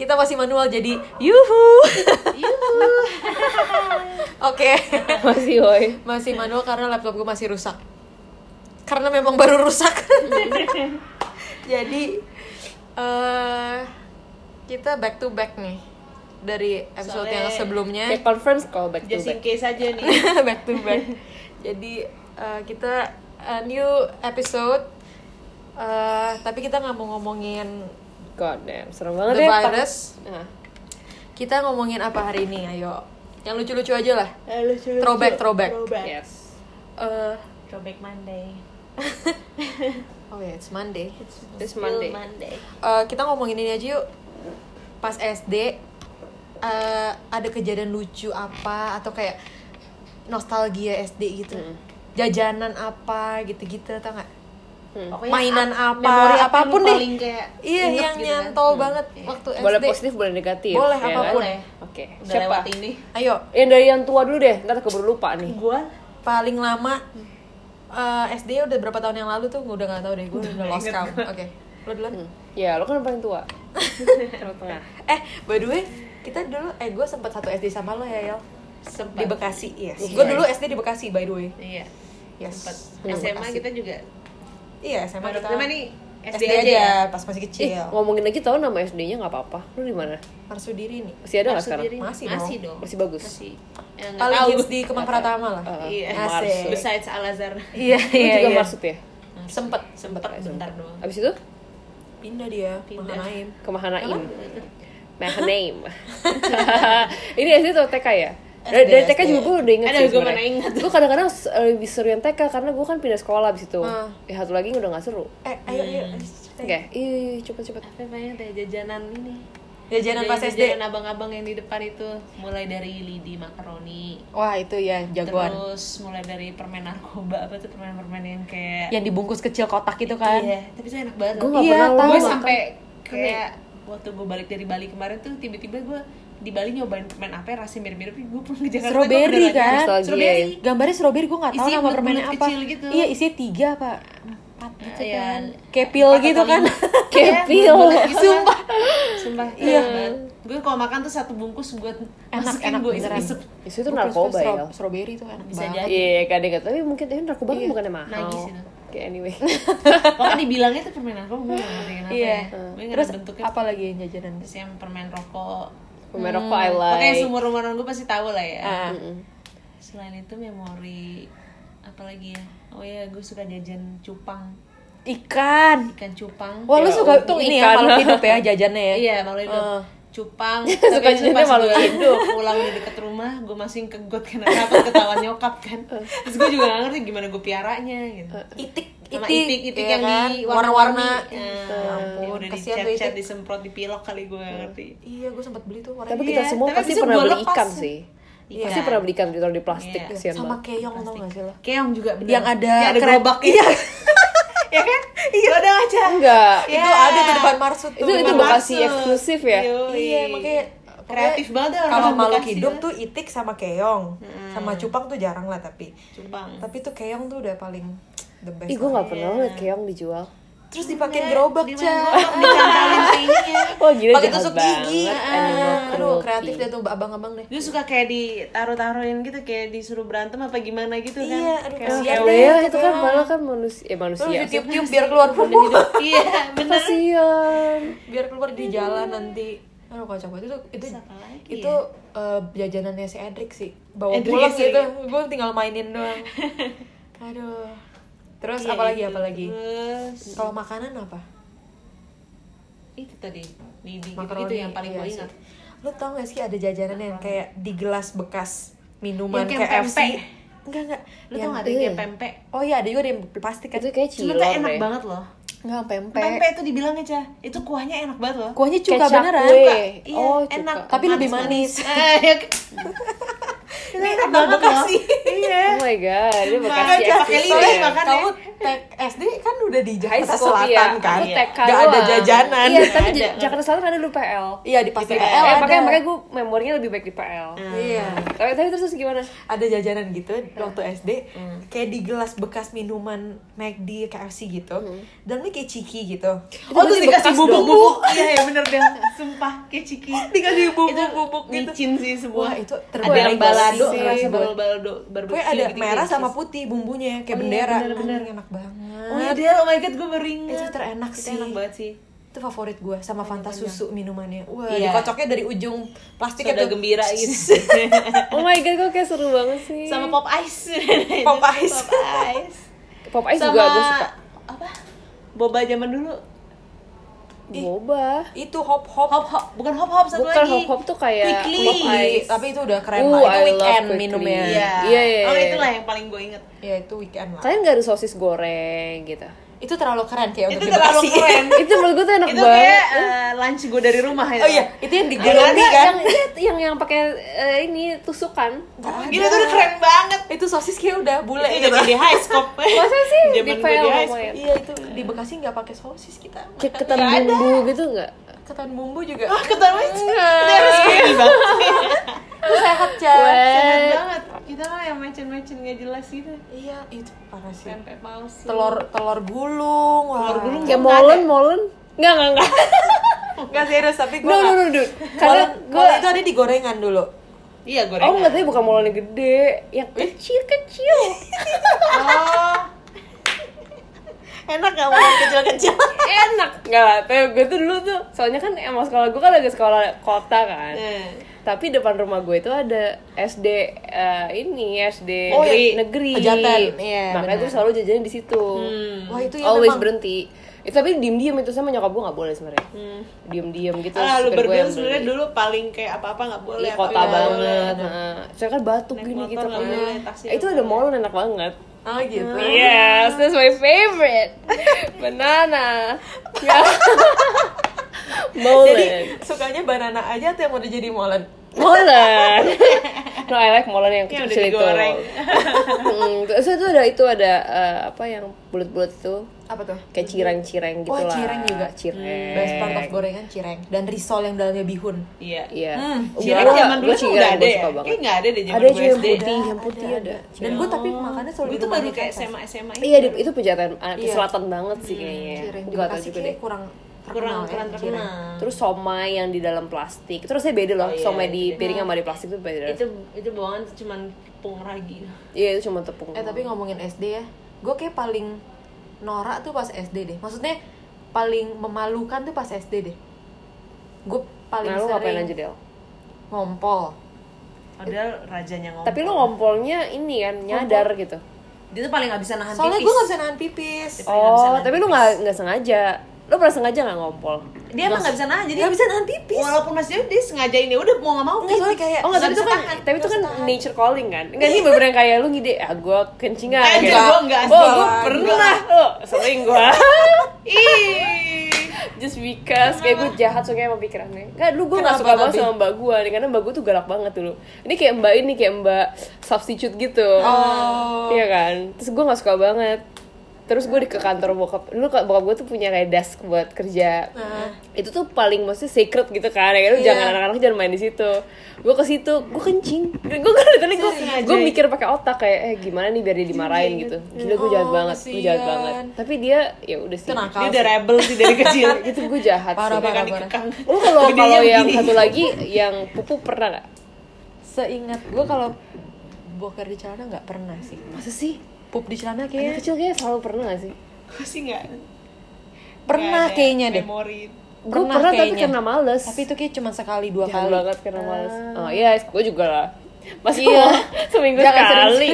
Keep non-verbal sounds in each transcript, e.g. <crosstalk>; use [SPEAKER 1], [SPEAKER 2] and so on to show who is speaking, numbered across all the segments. [SPEAKER 1] Kita masih manual jadi yuhu. <laughs> Oke.
[SPEAKER 2] Masih woi.
[SPEAKER 1] Masih manual karena laptop gue masih rusak. Karena memang baru
[SPEAKER 2] <laughs>
[SPEAKER 1] rusak. jadi eh kita back to back nih dari episode yang
[SPEAKER 3] Soalnya-
[SPEAKER 1] sebelumnya.
[SPEAKER 2] Kayak conference call back to
[SPEAKER 3] Just
[SPEAKER 2] back.
[SPEAKER 3] in case aja nih.
[SPEAKER 1] <laughs> back to back. Jadi eh, kita a new episode. Eh, tapi kita nggak mau ngomongin
[SPEAKER 2] God damn, serem banget
[SPEAKER 1] the
[SPEAKER 2] ya.
[SPEAKER 1] virus.
[SPEAKER 2] Nah,
[SPEAKER 1] Kita ngomongin apa hari ini? Ayo, yang lucu-lucu aja lah.
[SPEAKER 3] Eh, lucu, lucu.
[SPEAKER 1] Throwback, throwback.
[SPEAKER 3] Throwback.
[SPEAKER 2] yes.
[SPEAKER 1] Eh,
[SPEAKER 3] Throwback Monday.
[SPEAKER 1] oh ya, it's Monday.
[SPEAKER 2] This
[SPEAKER 3] Still
[SPEAKER 2] Monday.
[SPEAKER 3] Monday.
[SPEAKER 1] Eh, kita ngomongin ini aja yuk. Pas SD eh, ada kejadian lucu apa atau kayak nostalgia SD gitu. Jajanan apa gitu-gitu tau nggak?
[SPEAKER 2] Hmm.
[SPEAKER 1] Oh,
[SPEAKER 3] Pokoknya
[SPEAKER 1] Mainan apa,
[SPEAKER 3] ap- memori yang
[SPEAKER 1] apapun deh.
[SPEAKER 3] paling kayak
[SPEAKER 1] Iya, yang
[SPEAKER 3] inget gitu kan.
[SPEAKER 1] nyantol banget
[SPEAKER 3] Iya.
[SPEAKER 1] waktu SD.
[SPEAKER 2] Boleh positif, boleh negatif.
[SPEAKER 1] Boleh,
[SPEAKER 2] ya kan?
[SPEAKER 1] apapun.
[SPEAKER 3] Boleh.
[SPEAKER 2] Oke,
[SPEAKER 3] Udah
[SPEAKER 2] siapa?
[SPEAKER 3] lewat ini.
[SPEAKER 1] Ayo,
[SPEAKER 2] Yang dari yang tua dulu deh, ntar keburu lupa nih.
[SPEAKER 3] Gua
[SPEAKER 1] paling lama eh, SD udah berapa tahun yang lalu tuh gue udah nggak Hmm. tahu deh gue udah lost count. Oke, lo duluan.
[SPEAKER 2] Ya, lo kan yang paling
[SPEAKER 1] <laughs>
[SPEAKER 2] tua. Tengah-tengah.
[SPEAKER 1] Eh, by the way, kita dulu eh gue sempat satu SD sama lo ya, Yel. Di Bekasi, yes.
[SPEAKER 2] Iya.
[SPEAKER 1] Gue dulu SD di Bekasi by the way.
[SPEAKER 3] Iya.
[SPEAKER 1] Yes.
[SPEAKER 3] Sempet.
[SPEAKER 1] Di
[SPEAKER 3] SMA
[SPEAKER 1] Bekasi.
[SPEAKER 3] kita juga.
[SPEAKER 1] Iya, SMA
[SPEAKER 3] Baru
[SPEAKER 1] kita.
[SPEAKER 3] SMA nih
[SPEAKER 1] SD, aja,
[SPEAKER 3] ya. oh.
[SPEAKER 1] pas masih
[SPEAKER 2] Ih,
[SPEAKER 1] kecil.
[SPEAKER 2] ngomongin lagi tau nama SD-nya nggak apa-apa. Lu di mana?
[SPEAKER 1] Marsudiri nih.
[SPEAKER 2] Masih ada nggak
[SPEAKER 3] Masih
[SPEAKER 2] sekarang?
[SPEAKER 3] diri-
[SPEAKER 1] Masih
[SPEAKER 3] Masih
[SPEAKER 1] dong.
[SPEAKER 3] dong.
[SPEAKER 2] Masih bagus.
[SPEAKER 3] Masih. Ya, nggak
[SPEAKER 1] Paling
[SPEAKER 3] tahu.
[SPEAKER 1] hits di Kemang Pratama lah.
[SPEAKER 2] Eh,
[SPEAKER 3] Iya.
[SPEAKER 2] Marsud.
[SPEAKER 1] Asik.
[SPEAKER 3] Besides Al Azhar.
[SPEAKER 1] <laughs> Iya,
[SPEAKER 2] Lu
[SPEAKER 1] iya,
[SPEAKER 2] juga
[SPEAKER 1] iya.
[SPEAKER 2] Marsud ya?
[SPEAKER 1] Sempet,
[SPEAKER 3] Sempet bentar doang.
[SPEAKER 2] Abis itu
[SPEAKER 1] pindah dia,
[SPEAKER 3] Pindah.
[SPEAKER 1] pindah. Mahanaim.
[SPEAKER 2] ke Mahanaim. Mahanaim. Ini SD atau TK ya? Dari,
[SPEAKER 1] SD,
[SPEAKER 2] dari TK
[SPEAKER 1] SD.
[SPEAKER 2] juga gue udah inget
[SPEAKER 3] Ada,
[SPEAKER 2] sih
[SPEAKER 3] gue mana
[SPEAKER 2] sebenarnya.
[SPEAKER 3] inget.
[SPEAKER 2] Gue kadang-kadang s- eh, lebih seru yang TK karena gue kan pindah sekolah abis itu.
[SPEAKER 1] Ah.
[SPEAKER 2] Ya satu lagi udah gak seru.
[SPEAKER 1] Eh, ayo, ayo.
[SPEAKER 2] Oke, Iya, ih cepet-cepet.
[SPEAKER 3] Apa namanya ada jajanan ini?
[SPEAKER 1] Jajanan pas SD.
[SPEAKER 3] Jajanan abang-abang yang di depan itu mulai dari lidi makaroni.
[SPEAKER 1] Wah, itu ya jagoan.
[SPEAKER 3] Terus mulai dari permen narkoba apa tuh permen-permen yang kayak
[SPEAKER 1] Yang dibungkus kecil kotak gitu Ya, kan.
[SPEAKER 3] Iya, tapi itu enak banget.
[SPEAKER 2] Gua nggak
[SPEAKER 1] Iya,
[SPEAKER 2] pernah
[SPEAKER 1] tahu.
[SPEAKER 3] gue
[SPEAKER 2] makan.
[SPEAKER 3] sampai
[SPEAKER 1] Kan.
[SPEAKER 3] kayak waktu gue balik dari Bali kemarin tuh tiba-tiba gue di Bali nyobain permen apa yang rasanya mirip-mirip gue pulang ke Jakarta
[SPEAKER 1] Strawberry,
[SPEAKER 3] gua beneran
[SPEAKER 1] kan?
[SPEAKER 3] nyobain.
[SPEAKER 2] Nostalgia,
[SPEAKER 3] strawberry
[SPEAKER 2] ya.
[SPEAKER 1] Gambarnya strawberry gue nggak tahu
[SPEAKER 3] Isinya
[SPEAKER 1] nama permennya
[SPEAKER 3] bulat-bulat
[SPEAKER 1] apa.
[SPEAKER 3] kecil gitu.
[SPEAKER 1] Iya, isinya tiga apa? Empat gitu
[SPEAKER 3] Iya.
[SPEAKER 1] kan. Kepil
[SPEAKER 3] Empat
[SPEAKER 1] gitu
[SPEAKER 3] atau
[SPEAKER 1] kan. <laughs>
[SPEAKER 3] lima.
[SPEAKER 2] Kepil.
[SPEAKER 3] sumpah gitu. sumpah
[SPEAKER 1] Iya.
[SPEAKER 3] iya gue kalau makan tuh satu bungkus gue
[SPEAKER 1] enak
[SPEAKER 3] masukin
[SPEAKER 1] enak
[SPEAKER 3] gue
[SPEAKER 1] beneran.
[SPEAKER 3] isep-isep
[SPEAKER 2] Itu tuh
[SPEAKER 1] Gua
[SPEAKER 2] narkoba
[SPEAKER 1] stra-
[SPEAKER 2] ya.
[SPEAKER 1] Strawberry itu enak
[SPEAKER 3] Bisa
[SPEAKER 1] banget.
[SPEAKER 3] jadi.
[SPEAKER 2] Iya, kadang kadang tapi mungkin tapi narkoba kan bukannya mahal.
[SPEAKER 3] Nagis itu.
[SPEAKER 2] Oke, anyway.
[SPEAKER 3] pokoknya dibilangnya tuh permen apa gue nggak ngerti kenapa
[SPEAKER 1] Iya. Ah.
[SPEAKER 3] ya gue nggak
[SPEAKER 1] Terus
[SPEAKER 3] ada bentuknya
[SPEAKER 1] apa lagi yang jajanan?
[SPEAKER 3] terus yang permen rokok
[SPEAKER 2] Permen rokok I
[SPEAKER 3] Pokoknya
[SPEAKER 2] like.
[SPEAKER 3] seumur umuran gue pasti tahu lah ya.
[SPEAKER 1] Ah,
[SPEAKER 3] Selain itu memori apa lagi ya? Oh ya, gue suka jajan cupang,
[SPEAKER 1] ikan.
[SPEAKER 3] ikan cupang.
[SPEAKER 1] Wah, lu
[SPEAKER 2] Ya,
[SPEAKER 1] suka
[SPEAKER 2] untung
[SPEAKER 1] tuh ini ya,
[SPEAKER 2] ikan.
[SPEAKER 1] makhluk hidup ya jajannya ya.
[SPEAKER 3] Iya, malu hidup.
[SPEAKER 1] Ah.
[SPEAKER 3] Cupang,
[SPEAKER 2] Suka
[SPEAKER 3] tapi itu
[SPEAKER 2] jajannya
[SPEAKER 3] pas
[SPEAKER 2] malu
[SPEAKER 3] gue
[SPEAKER 2] hidup.
[SPEAKER 3] pulang dari deket rumah, gue masukin ke got kan. karena takut ketawa nyokap kan. Terus gue juga gak ngerti gimana gue piaranya gitu.
[SPEAKER 1] Ah. Itik, Iya.
[SPEAKER 3] Sama itik, itik yang
[SPEAKER 1] kan?
[SPEAKER 3] di
[SPEAKER 1] warna-warna.
[SPEAKER 3] warna-warni. Ya, yang
[SPEAKER 1] ampun,
[SPEAKER 3] udah
[SPEAKER 1] kasihan tuh
[SPEAKER 3] dicet-cet,
[SPEAKER 1] itik.
[SPEAKER 3] disemprot, dipilok kali gue gak ngerti.
[SPEAKER 1] Iya, gue sempat beli tuh warna
[SPEAKER 2] Tapi
[SPEAKER 1] itik.
[SPEAKER 2] kita
[SPEAKER 3] Iya,
[SPEAKER 2] semua
[SPEAKER 3] tapi
[SPEAKER 2] pasti
[SPEAKER 3] abis itu
[SPEAKER 2] pernah
[SPEAKER 3] gua
[SPEAKER 2] beli
[SPEAKER 3] lepas.
[SPEAKER 2] ikan sih.
[SPEAKER 3] Iya.
[SPEAKER 2] Pasti pernah beli ikan ditaruh di plastik,
[SPEAKER 3] Iya.
[SPEAKER 2] kasihan
[SPEAKER 1] sama
[SPEAKER 2] banget.
[SPEAKER 1] keong tau gak sih lo?
[SPEAKER 3] Keong juga bener.
[SPEAKER 1] Yang ada
[SPEAKER 3] yang ada
[SPEAKER 1] keren-
[SPEAKER 3] gerobak
[SPEAKER 1] <laughs> Iya.
[SPEAKER 3] ya kan? Iya, udah aja.
[SPEAKER 2] Enggak.
[SPEAKER 3] Iya.
[SPEAKER 1] Itu ada di depan Marsud tuh.
[SPEAKER 2] Itu- itu
[SPEAKER 1] Depan
[SPEAKER 2] Bekasi
[SPEAKER 1] Marsud.
[SPEAKER 2] eksklusif ya?
[SPEAKER 1] Iya, makanya
[SPEAKER 3] kreatif banget ya orang
[SPEAKER 1] Kalau
[SPEAKER 3] orang
[SPEAKER 1] makhluk
[SPEAKER 3] Bekasi
[SPEAKER 1] hidup
[SPEAKER 3] ya.
[SPEAKER 1] tuh itik sama keong, sama cupang tuh jarang lah tapi.
[SPEAKER 3] cupang.
[SPEAKER 1] Tapi tuh keong tuh udah paling the best.
[SPEAKER 2] Ih, gue
[SPEAKER 1] lah.
[SPEAKER 2] gak pernah liat keong dijual.
[SPEAKER 1] Terus dipakein Iya, gerobak,
[SPEAKER 3] Di mana
[SPEAKER 1] Ca.
[SPEAKER 3] gerobak,
[SPEAKER 1] <laughs>
[SPEAKER 3] dicantalin kayaknya.
[SPEAKER 2] Wah, Oh, gila
[SPEAKER 1] Pakai
[SPEAKER 2] jahat
[SPEAKER 1] tusuk gigi.
[SPEAKER 2] banget.
[SPEAKER 1] Ah,
[SPEAKER 2] Animal
[SPEAKER 1] Aduh, kreatif
[SPEAKER 2] cruelty.
[SPEAKER 1] deh tuh abang-abang deh.
[SPEAKER 3] Dia suka kayak ditaruh-taruhin gitu, kayak disuruh berantem apa gimana gitu kan.
[SPEAKER 1] Iya, aduh,
[SPEAKER 3] Kayak
[SPEAKER 1] kasihan
[SPEAKER 2] Ya
[SPEAKER 3] orang
[SPEAKER 1] deh.
[SPEAKER 3] kayak-
[SPEAKER 2] udah, itu kan padahal kan manusia, eh,
[SPEAKER 1] Terus
[SPEAKER 2] manusia.
[SPEAKER 1] ditiup-tiup biar keluar <laughs>
[SPEAKER 3] hidup.
[SPEAKER 1] pupuk.
[SPEAKER 3] Iya, bener.
[SPEAKER 2] Kasian.
[SPEAKER 1] biar keluar di
[SPEAKER 3] Iya.
[SPEAKER 1] jalan nanti. Aduh, kocak banget itu itu
[SPEAKER 3] apa lagi
[SPEAKER 1] itu eh, jajanannya si Edric sih bawa
[SPEAKER 3] ya? Edric
[SPEAKER 1] pulang
[SPEAKER 3] sih.
[SPEAKER 1] gitu gue tinggal mainin
[SPEAKER 3] <laughs>
[SPEAKER 1] doang aduh terus
[SPEAKER 3] Iya,
[SPEAKER 1] apalagi
[SPEAKER 3] itu.
[SPEAKER 1] apalagi
[SPEAKER 3] Terus
[SPEAKER 1] kalau makanan apa
[SPEAKER 3] itu tadi lidi gitu,
[SPEAKER 1] Makaroni
[SPEAKER 3] itu yang paling
[SPEAKER 1] iya
[SPEAKER 3] gue
[SPEAKER 1] sih.
[SPEAKER 3] ingat.
[SPEAKER 1] Lu tau gak sih ada jajanan yang kayak di gelas bekas minuman
[SPEAKER 3] Yang kayak
[SPEAKER 1] KFC?
[SPEAKER 3] pempek.
[SPEAKER 1] Enggak enggak.
[SPEAKER 3] Lu tau gak ada
[SPEAKER 1] Yang-
[SPEAKER 3] yang kayak
[SPEAKER 2] iya.
[SPEAKER 3] pempek?
[SPEAKER 1] Oh iya ada juga yang plastik kan.
[SPEAKER 2] Itu kayak cilor
[SPEAKER 3] Cuma tuh enak
[SPEAKER 2] deh.
[SPEAKER 3] banget loh.
[SPEAKER 1] Enggak pempek.
[SPEAKER 3] Pempek itu dibilangnya aja, itu kuahnya enak banget loh.
[SPEAKER 1] Kuahnya cuka
[SPEAKER 2] Kecap
[SPEAKER 1] beneran.
[SPEAKER 2] kue.
[SPEAKER 1] Cuka.
[SPEAKER 3] Iya,
[SPEAKER 2] Oh, cuka.
[SPEAKER 3] enak.
[SPEAKER 1] Tapi lebih manis.
[SPEAKER 3] <laughs> Eh, ya kan. Itu enak banget loh.
[SPEAKER 1] Bekasi.
[SPEAKER 3] Iya.
[SPEAKER 2] Oh my god, ini
[SPEAKER 3] Makanya
[SPEAKER 2] Bekasi
[SPEAKER 3] jangan Eh, pakai
[SPEAKER 2] eksklusif.
[SPEAKER 3] lidah,
[SPEAKER 1] Iya, Soalnya
[SPEAKER 3] makan
[SPEAKER 1] kamu
[SPEAKER 3] ya.
[SPEAKER 1] tek SD kan udah di
[SPEAKER 2] High
[SPEAKER 1] Jakarta
[SPEAKER 2] school,
[SPEAKER 1] Selatan
[SPEAKER 2] iya.
[SPEAKER 1] kan.
[SPEAKER 2] Aku TK
[SPEAKER 1] Gak ada
[SPEAKER 2] doang.
[SPEAKER 1] jajanan.
[SPEAKER 2] Iya, tapi
[SPEAKER 3] Ada.
[SPEAKER 2] Ja- Jakarta Selatan ada dulu PL.
[SPEAKER 1] Iya di pasar
[SPEAKER 3] Di PL
[SPEAKER 1] PL
[SPEAKER 2] eh,
[SPEAKER 1] ada.
[SPEAKER 2] makanya makanya gue memorinya lebih baik di PL.
[SPEAKER 1] Iya.
[SPEAKER 3] Hmm.
[SPEAKER 2] Tapi tapi terus terus gimana?
[SPEAKER 1] Ada jajanan gitu waktu SD
[SPEAKER 3] Hmm.
[SPEAKER 1] kayak di gelas bekas minuman McD
[SPEAKER 3] Hmm.
[SPEAKER 1] KFC gitu. Dan lu kayak ciki gitu.
[SPEAKER 3] Oh, terus
[SPEAKER 1] di
[SPEAKER 3] dikasih
[SPEAKER 1] bekas dong. Oh,
[SPEAKER 3] bubuk-bubuk. <laughs> Iya, ya bener deh. sumpah kayak
[SPEAKER 1] <laughs>
[SPEAKER 3] ciki
[SPEAKER 1] dikasih bubuk-bubuk gitu
[SPEAKER 3] micin sih semua
[SPEAKER 1] Wah, itu
[SPEAKER 3] ada
[SPEAKER 1] terbaik
[SPEAKER 3] yang balado
[SPEAKER 1] sih.
[SPEAKER 3] rasa balado balado barbecue
[SPEAKER 1] Pokoknya ada
[SPEAKER 3] gitu,
[SPEAKER 1] merah
[SPEAKER 3] kayak
[SPEAKER 1] sama
[SPEAKER 3] cheese.
[SPEAKER 1] putih bumbunya kayak
[SPEAKER 3] Oh iya,
[SPEAKER 1] bendera.
[SPEAKER 3] bener-bener.
[SPEAKER 1] Anjing, enak banget.
[SPEAKER 3] oh iya Del, oh my god gue baru ingat
[SPEAKER 1] Itu terenak
[SPEAKER 3] Itu
[SPEAKER 1] sih.
[SPEAKER 3] enak banget sih
[SPEAKER 1] Itu favorit gue sama Fanta susu minumannya. Wah,
[SPEAKER 3] Iya.
[SPEAKER 1] dikocoknya dari ujung plastik
[SPEAKER 3] Soda
[SPEAKER 1] itu. <laughs>
[SPEAKER 3] gembira gitu
[SPEAKER 1] Iya.
[SPEAKER 2] Oh my god, kok kayak seru banget sih.
[SPEAKER 3] sama pop ice
[SPEAKER 1] <laughs> Pop ice.
[SPEAKER 3] pop ice
[SPEAKER 2] Pop ice juga gue suka.
[SPEAKER 3] apa boba zaman dulu
[SPEAKER 1] Ih.
[SPEAKER 2] Boba.
[SPEAKER 1] Itu hop hop.
[SPEAKER 3] hop hop bukan hop hop satu
[SPEAKER 2] Bukan
[SPEAKER 3] lagi
[SPEAKER 2] hop-hop tuh kayak
[SPEAKER 3] Quickly.
[SPEAKER 2] pop ice.
[SPEAKER 1] Tapi itu udah keren lah.
[SPEAKER 2] Uh,
[SPEAKER 1] Itu
[SPEAKER 2] I love
[SPEAKER 1] weekend
[SPEAKER 2] quickly.
[SPEAKER 1] minumnya.
[SPEAKER 3] iya
[SPEAKER 2] Iya, iya,
[SPEAKER 3] oh
[SPEAKER 2] iya.
[SPEAKER 3] itulah yang paling gue inget
[SPEAKER 1] Ya itu weekend lah.
[SPEAKER 2] Kalian gak ada sosis goreng gitu.
[SPEAKER 1] Itu terlalu keren kayak untuk
[SPEAKER 3] itu terlalu
[SPEAKER 1] dekorasi.
[SPEAKER 2] <laughs>
[SPEAKER 3] keren
[SPEAKER 2] Itu menurut gue tuh enak
[SPEAKER 3] itu kayak
[SPEAKER 2] banget.
[SPEAKER 3] eh, lunch gue dari rumah ya. itu.
[SPEAKER 1] Oh iya, itu yang
[SPEAKER 2] Eh, enggak,
[SPEAKER 1] digoreng kan.
[SPEAKER 2] yang yang yang, yang pakai eh, ini tusukan.
[SPEAKER 1] Nggak ada.
[SPEAKER 3] gila itu udah keren banget
[SPEAKER 1] Itu sosis kayak udah bule
[SPEAKER 3] itu
[SPEAKER 1] gitu.
[SPEAKER 3] zaman di high school
[SPEAKER 2] iya, <laughs> Masa sih
[SPEAKER 3] zaman
[SPEAKER 2] di
[SPEAKER 3] gue
[SPEAKER 2] fail
[SPEAKER 3] di high school
[SPEAKER 2] ngomongin?
[SPEAKER 1] Iya itu di Bekasi nggak pakai sosis kita.
[SPEAKER 2] Ceketan bumbu gitu nggak?
[SPEAKER 1] Ketan bumbu juga.
[SPEAKER 2] <laughs>
[SPEAKER 3] ah ketawa itu
[SPEAKER 2] Iya.
[SPEAKER 1] Enggak.
[SPEAKER 3] harus gini banget
[SPEAKER 1] Itu sehat, Cah.
[SPEAKER 3] Keren
[SPEAKER 2] Eh,
[SPEAKER 3] banget kita mah yang macen-macen gak jelas gitu
[SPEAKER 1] Iya, itu parah sih.
[SPEAKER 3] sampai paus
[SPEAKER 1] Telur telur gulung. Wah.
[SPEAKER 3] Telur gulung.
[SPEAKER 2] kayak molen molen. Nggak nggak nggak.
[SPEAKER 1] Enggak serius, tapi gue
[SPEAKER 2] No no no no. Karena gue
[SPEAKER 1] itu ada di gorengan dulu.
[SPEAKER 3] iya
[SPEAKER 2] Oh
[SPEAKER 3] gorengan
[SPEAKER 2] nggak tapi bukan molen yang gede, yang
[SPEAKER 1] Eh?
[SPEAKER 2] kecil
[SPEAKER 1] <laughs>
[SPEAKER 2] kecil.
[SPEAKER 3] oh
[SPEAKER 1] Enak gak
[SPEAKER 2] <laughs>
[SPEAKER 1] mau kecil-kecil?
[SPEAKER 2] Enak nggak lah. Tapi gue tuh dulu tuh, soalnya kan emang sekolah gue kan lagi sekolah kota kan.
[SPEAKER 1] Iya.
[SPEAKER 3] Eh.
[SPEAKER 2] Tapi depan rumah gue itu ada SD eh, ini SD
[SPEAKER 1] Oh,
[SPEAKER 2] negeri.
[SPEAKER 1] iya.
[SPEAKER 2] negeri.
[SPEAKER 1] Pejaten, iya,
[SPEAKER 2] Makanya
[SPEAKER 1] benar.
[SPEAKER 2] gue selalu jajan di situ.
[SPEAKER 1] Wah, itu ya
[SPEAKER 2] Always
[SPEAKER 1] memang.
[SPEAKER 2] berhenti. Itu tapi diem-diem itu sama nyokap gue nggak boleh sebenarnya. Diem-diem gitu.
[SPEAKER 3] Ah, lu
[SPEAKER 2] supir gue
[SPEAKER 3] berdua
[SPEAKER 2] yang
[SPEAKER 3] sebenarnya
[SPEAKER 2] beli.
[SPEAKER 3] dulu paling kayak apa-apa nggak boleh.
[SPEAKER 2] Ih,
[SPEAKER 3] apa
[SPEAKER 2] kota
[SPEAKER 3] nggak boleh.
[SPEAKER 2] banget. Nah, Soalnya kan batuk
[SPEAKER 3] Naik
[SPEAKER 2] gini
[SPEAKER 3] motor
[SPEAKER 2] gitu
[SPEAKER 3] nggak
[SPEAKER 2] kan.
[SPEAKER 3] boleh, taksi
[SPEAKER 2] Itu
[SPEAKER 3] nggak
[SPEAKER 2] ada molen enak banget.
[SPEAKER 1] Oh gitu.
[SPEAKER 2] Iya. Yes, that's my favorite. Banana. Ya. Molen.
[SPEAKER 1] <laughs> Jadi sukanya banana aja atau yang udah jadi molen?
[SPEAKER 2] molen no I like molen yang
[SPEAKER 3] Yang
[SPEAKER 2] kecil,
[SPEAKER 3] udah
[SPEAKER 2] -kecil itu
[SPEAKER 3] digoreng.
[SPEAKER 2] hmm, terus itu ada itu ada eh, apa yang bulat-bulat itu
[SPEAKER 1] Apa tuh?
[SPEAKER 2] kayak cireng-cireng gitu
[SPEAKER 1] Wah,
[SPEAKER 2] lah
[SPEAKER 1] Oh, cireng juga.
[SPEAKER 2] cireng
[SPEAKER 1] Best part of gorengan cireng dan risol yang dalamnya bihun.
[SPEAKER 3] Iya.
[SPEAKER 2] iya
[SPEAKER 1] Hmm,
[SPEAKER 2] Gua-
[SPEAKER 3] Cireng
[SPEAKER 2] gua-
[SPEAKER 3] zaman dulu
[SPEAKER 2] gua
[SPEAKER 3] tuh udah
[SPEAKER 2] gua
[SPEAKER 3] ada ya.
[SPEAKER 2] suka
[SPEAKER 3] Kayaknya
[SPEAKER 2] banget
[SPEAKER 3] nggak ada deh zaman
[SPEAKER 2] ada
[SPEAKER 3] gue
[SPEAKER 2] juga yang
[SPEAKER 3] SD.
[SPEAKER 2] putih yang putih ada,
[SPEAKER 1] Dan gue tapi makannya selalu
[SPEAKER 3] Gue
[SPEAKER 1] di
[SPEAKER 3] tuh
[SPEAKER 1] rumah
[SPEAKER 3] Oh. baru
[SPEAKER 1] makan
[SPEAKER 3] kayak
[SPEAKER 1] atas.
[SPEAKER 3] SMA SMA.
[SPEAKER 2] iya di- itu pejaten ah,
[SPEAKER 1] Iya.
[SPEAKER 2] selatan banget sih kayaknya
[SPEAKER 1] Cireng di
[SPEAKER 2] iya. Gua nggak tahu
[SPEAKER 1] Bekasi
[SPEAKER 2] juga
[SPEAKER 1] kayak
[SPEAKER 2] deh.
[SPEAKER 1] kurang
[SPEAKER 3] kurang
[SPEAKER 1] ya,
[SPEAKER 3] kurang
[SPEAKER 1] cireng.
[SPEAKER 3] terkenal.
[SPEAKER 2] terus somai yang di dalam plastik terus saya beda loh
[SPEAKER 3] Oh, iya,
[SPEAKER 2] somai di
[SPEAKER 3] iya.
[SPEAKER 2] piring sama di plastik itu beda
[SPEAKER 3] Itu itu bawaan tuh cuman tepung ragi.
[SPEAKER 2] iya itu cuma tepung
[SPEAKER 1] Eh tapi ngomongin SD ya, gue kayak paling norak tuh pas SD deh. Maksudnya paling memalukan tuh pas SD deh. Gue paling
[SPEAKER 2] nah lu ngapain
[SPEAKER 1] sering
[SPEAKER 2] aja Del?
[SPEAKER 1] ngompol.
[SPEAKER 3] Padahal rajanya ngomong.
[SPEAKER 2] tapi lu ngompolnya ini kan nyadar gitu
[SPEAKER 3] dia tuh paling nggak bisa nahan
[SPEAKER 1] Soalnya
[SPEAKER 3] pipis.
[SPEAKER 1] gue gak bisa nahan pipis.
[SPEAKER 3] Tapi nggak bisa
[SPEAKER 2] Oh,
[SPEAKER 3] nahan
[SPEAKER 2] tapi lu nggak nggak sengaja. Lu pernah sengaja nggak ngompol?
[SPEAKER 3] Dia emang nggak bisa nahan. Jadi
[SPEAKER 1] Gak bisa nahan pipis.
[SPEAKER 3] walaupun masih jauh, dia sengajain ya udah mau nggak mau.
[SPEAKER 1] Enggak soalnya kayak
[SPEAKER 2] Oh nggak, tapi
[SPEAKER 3] Nggak
[SPEAKER 2] itu
[SPEAKER 3] bisa
[SPEAKER 2] kan,
[SPEAKER 3] tahan,
[SPEAKER 2] tapi itu kan nature calling kan. Enggak sih beberapa yang kayak lu ngide, ah gue kencingan.
[SPEAKER 3] Eh,
[SPEAKER 2] gitu.
[SPEAKER 3] gua nggak,
[SPEAKER 2] Oh,
[SPEAKER 3] gua
[SPEAKER 2] gue
[SPEAKER 3] nggak.
[SPEAKER 2] pernah. Oh, sering gue.
[SPEAKER 3] Ih.
[SPEAKER 2] Just because kayak gue jahat suka sama pikirannya. Enggak, dulu gue nggak
[SPEAKER 1] Kenapa,
[SPEAKER 2] suka banget
[SPEAKER 1] tapi?
[SPEAKER 2] sama mbak gue nih, karena mbak gue tuh galak banget dulu. Ini kayak mbak ini kayak mbak substitute gitu.
[SPEAKER 1] Oh.
[SPEAKER 2] Iya kan? Terus gue nggak suka banget. Terus gue di ke kantor bokap, dulu kak- bokap gue tuh punya kayak desk buat kerja. Itu tuh paling maksudnya secret gitu kan, ya kan? Lu
[SPEAKER 1] Nah. Iya.
[SPEAKER 2] jangan anak-anak jangan main di situ. Gue ke situ, gue kencing. Gue kan tadi gue
[SPEAKER 3] Serius?
[SPEAKER 2] gue mikir pakai otak kayak eh gimana nih biar dia dimarahin gitu. Gila gue jahat
[SPEAKER 1] Oh,
[SPEAKER 2] banget, gue jahat
[SPEAKER 1] kasihan.
[SPEAKER 2] banget. Tapi dia ya udah sih.
[SPEAKER 1] Itu nakal.
[SPEAKER 3] Dia udah rebel sih dari kecil.
[SPEAKER 2] Itu gue jahat
[SPEAKER 1] Parah,
[SPEAKER 2] sih.
[SPEAKER 1] parah.
[SPEAKER 3] Makan dikekang.
[SPEAKER 2] Lu kalau
[SPEAKER 3] Gedenya
[SPEAKER 2] kalau yang
[SPEAKER 3] begini.
[SPEAKER 2] satu lagi yang pupu pernah nggak?
[SPEAKER 1] Seingat gue kalau boker di celana nggak pernah sih.
[SPEAKER 2] Masa sih?
[SPEAKER 1] Pup di celana
[SPEAKER 2] Anak
[SPEAKER 1] kayak
[SPEAKER 2] kecil kayaknya selalu pernah gak sih?
[SPEAKER 3] Gue sih nggak. nggak
[SPEAKER 1] pernah
[SPEAKER 3] ada
[SPEAKER 1] kayaknya deh.
[SPEAKER 3] Memori.
[SPEAKER 2] Gue
[SPEAKER 1] Pernah
[SPEAKER 2] pernah tapi
[SPEAKER 1] kayaknya.
[SPEAKER 2] karena males
[SPEAKER 1] Tapi itu kayak cuma sekali dua
[SPEAKER 2] Jahat
[SPEAKER 1] kali.
[SPEAKER 2] banget karena males Oh iya, gue juga lah Masih
[SPEAKER 1] Iya.
[SPEAKER 2] mau <laughs> seminggu
[SPEAKER 1] Jangan
[SPEAKER 2] sekali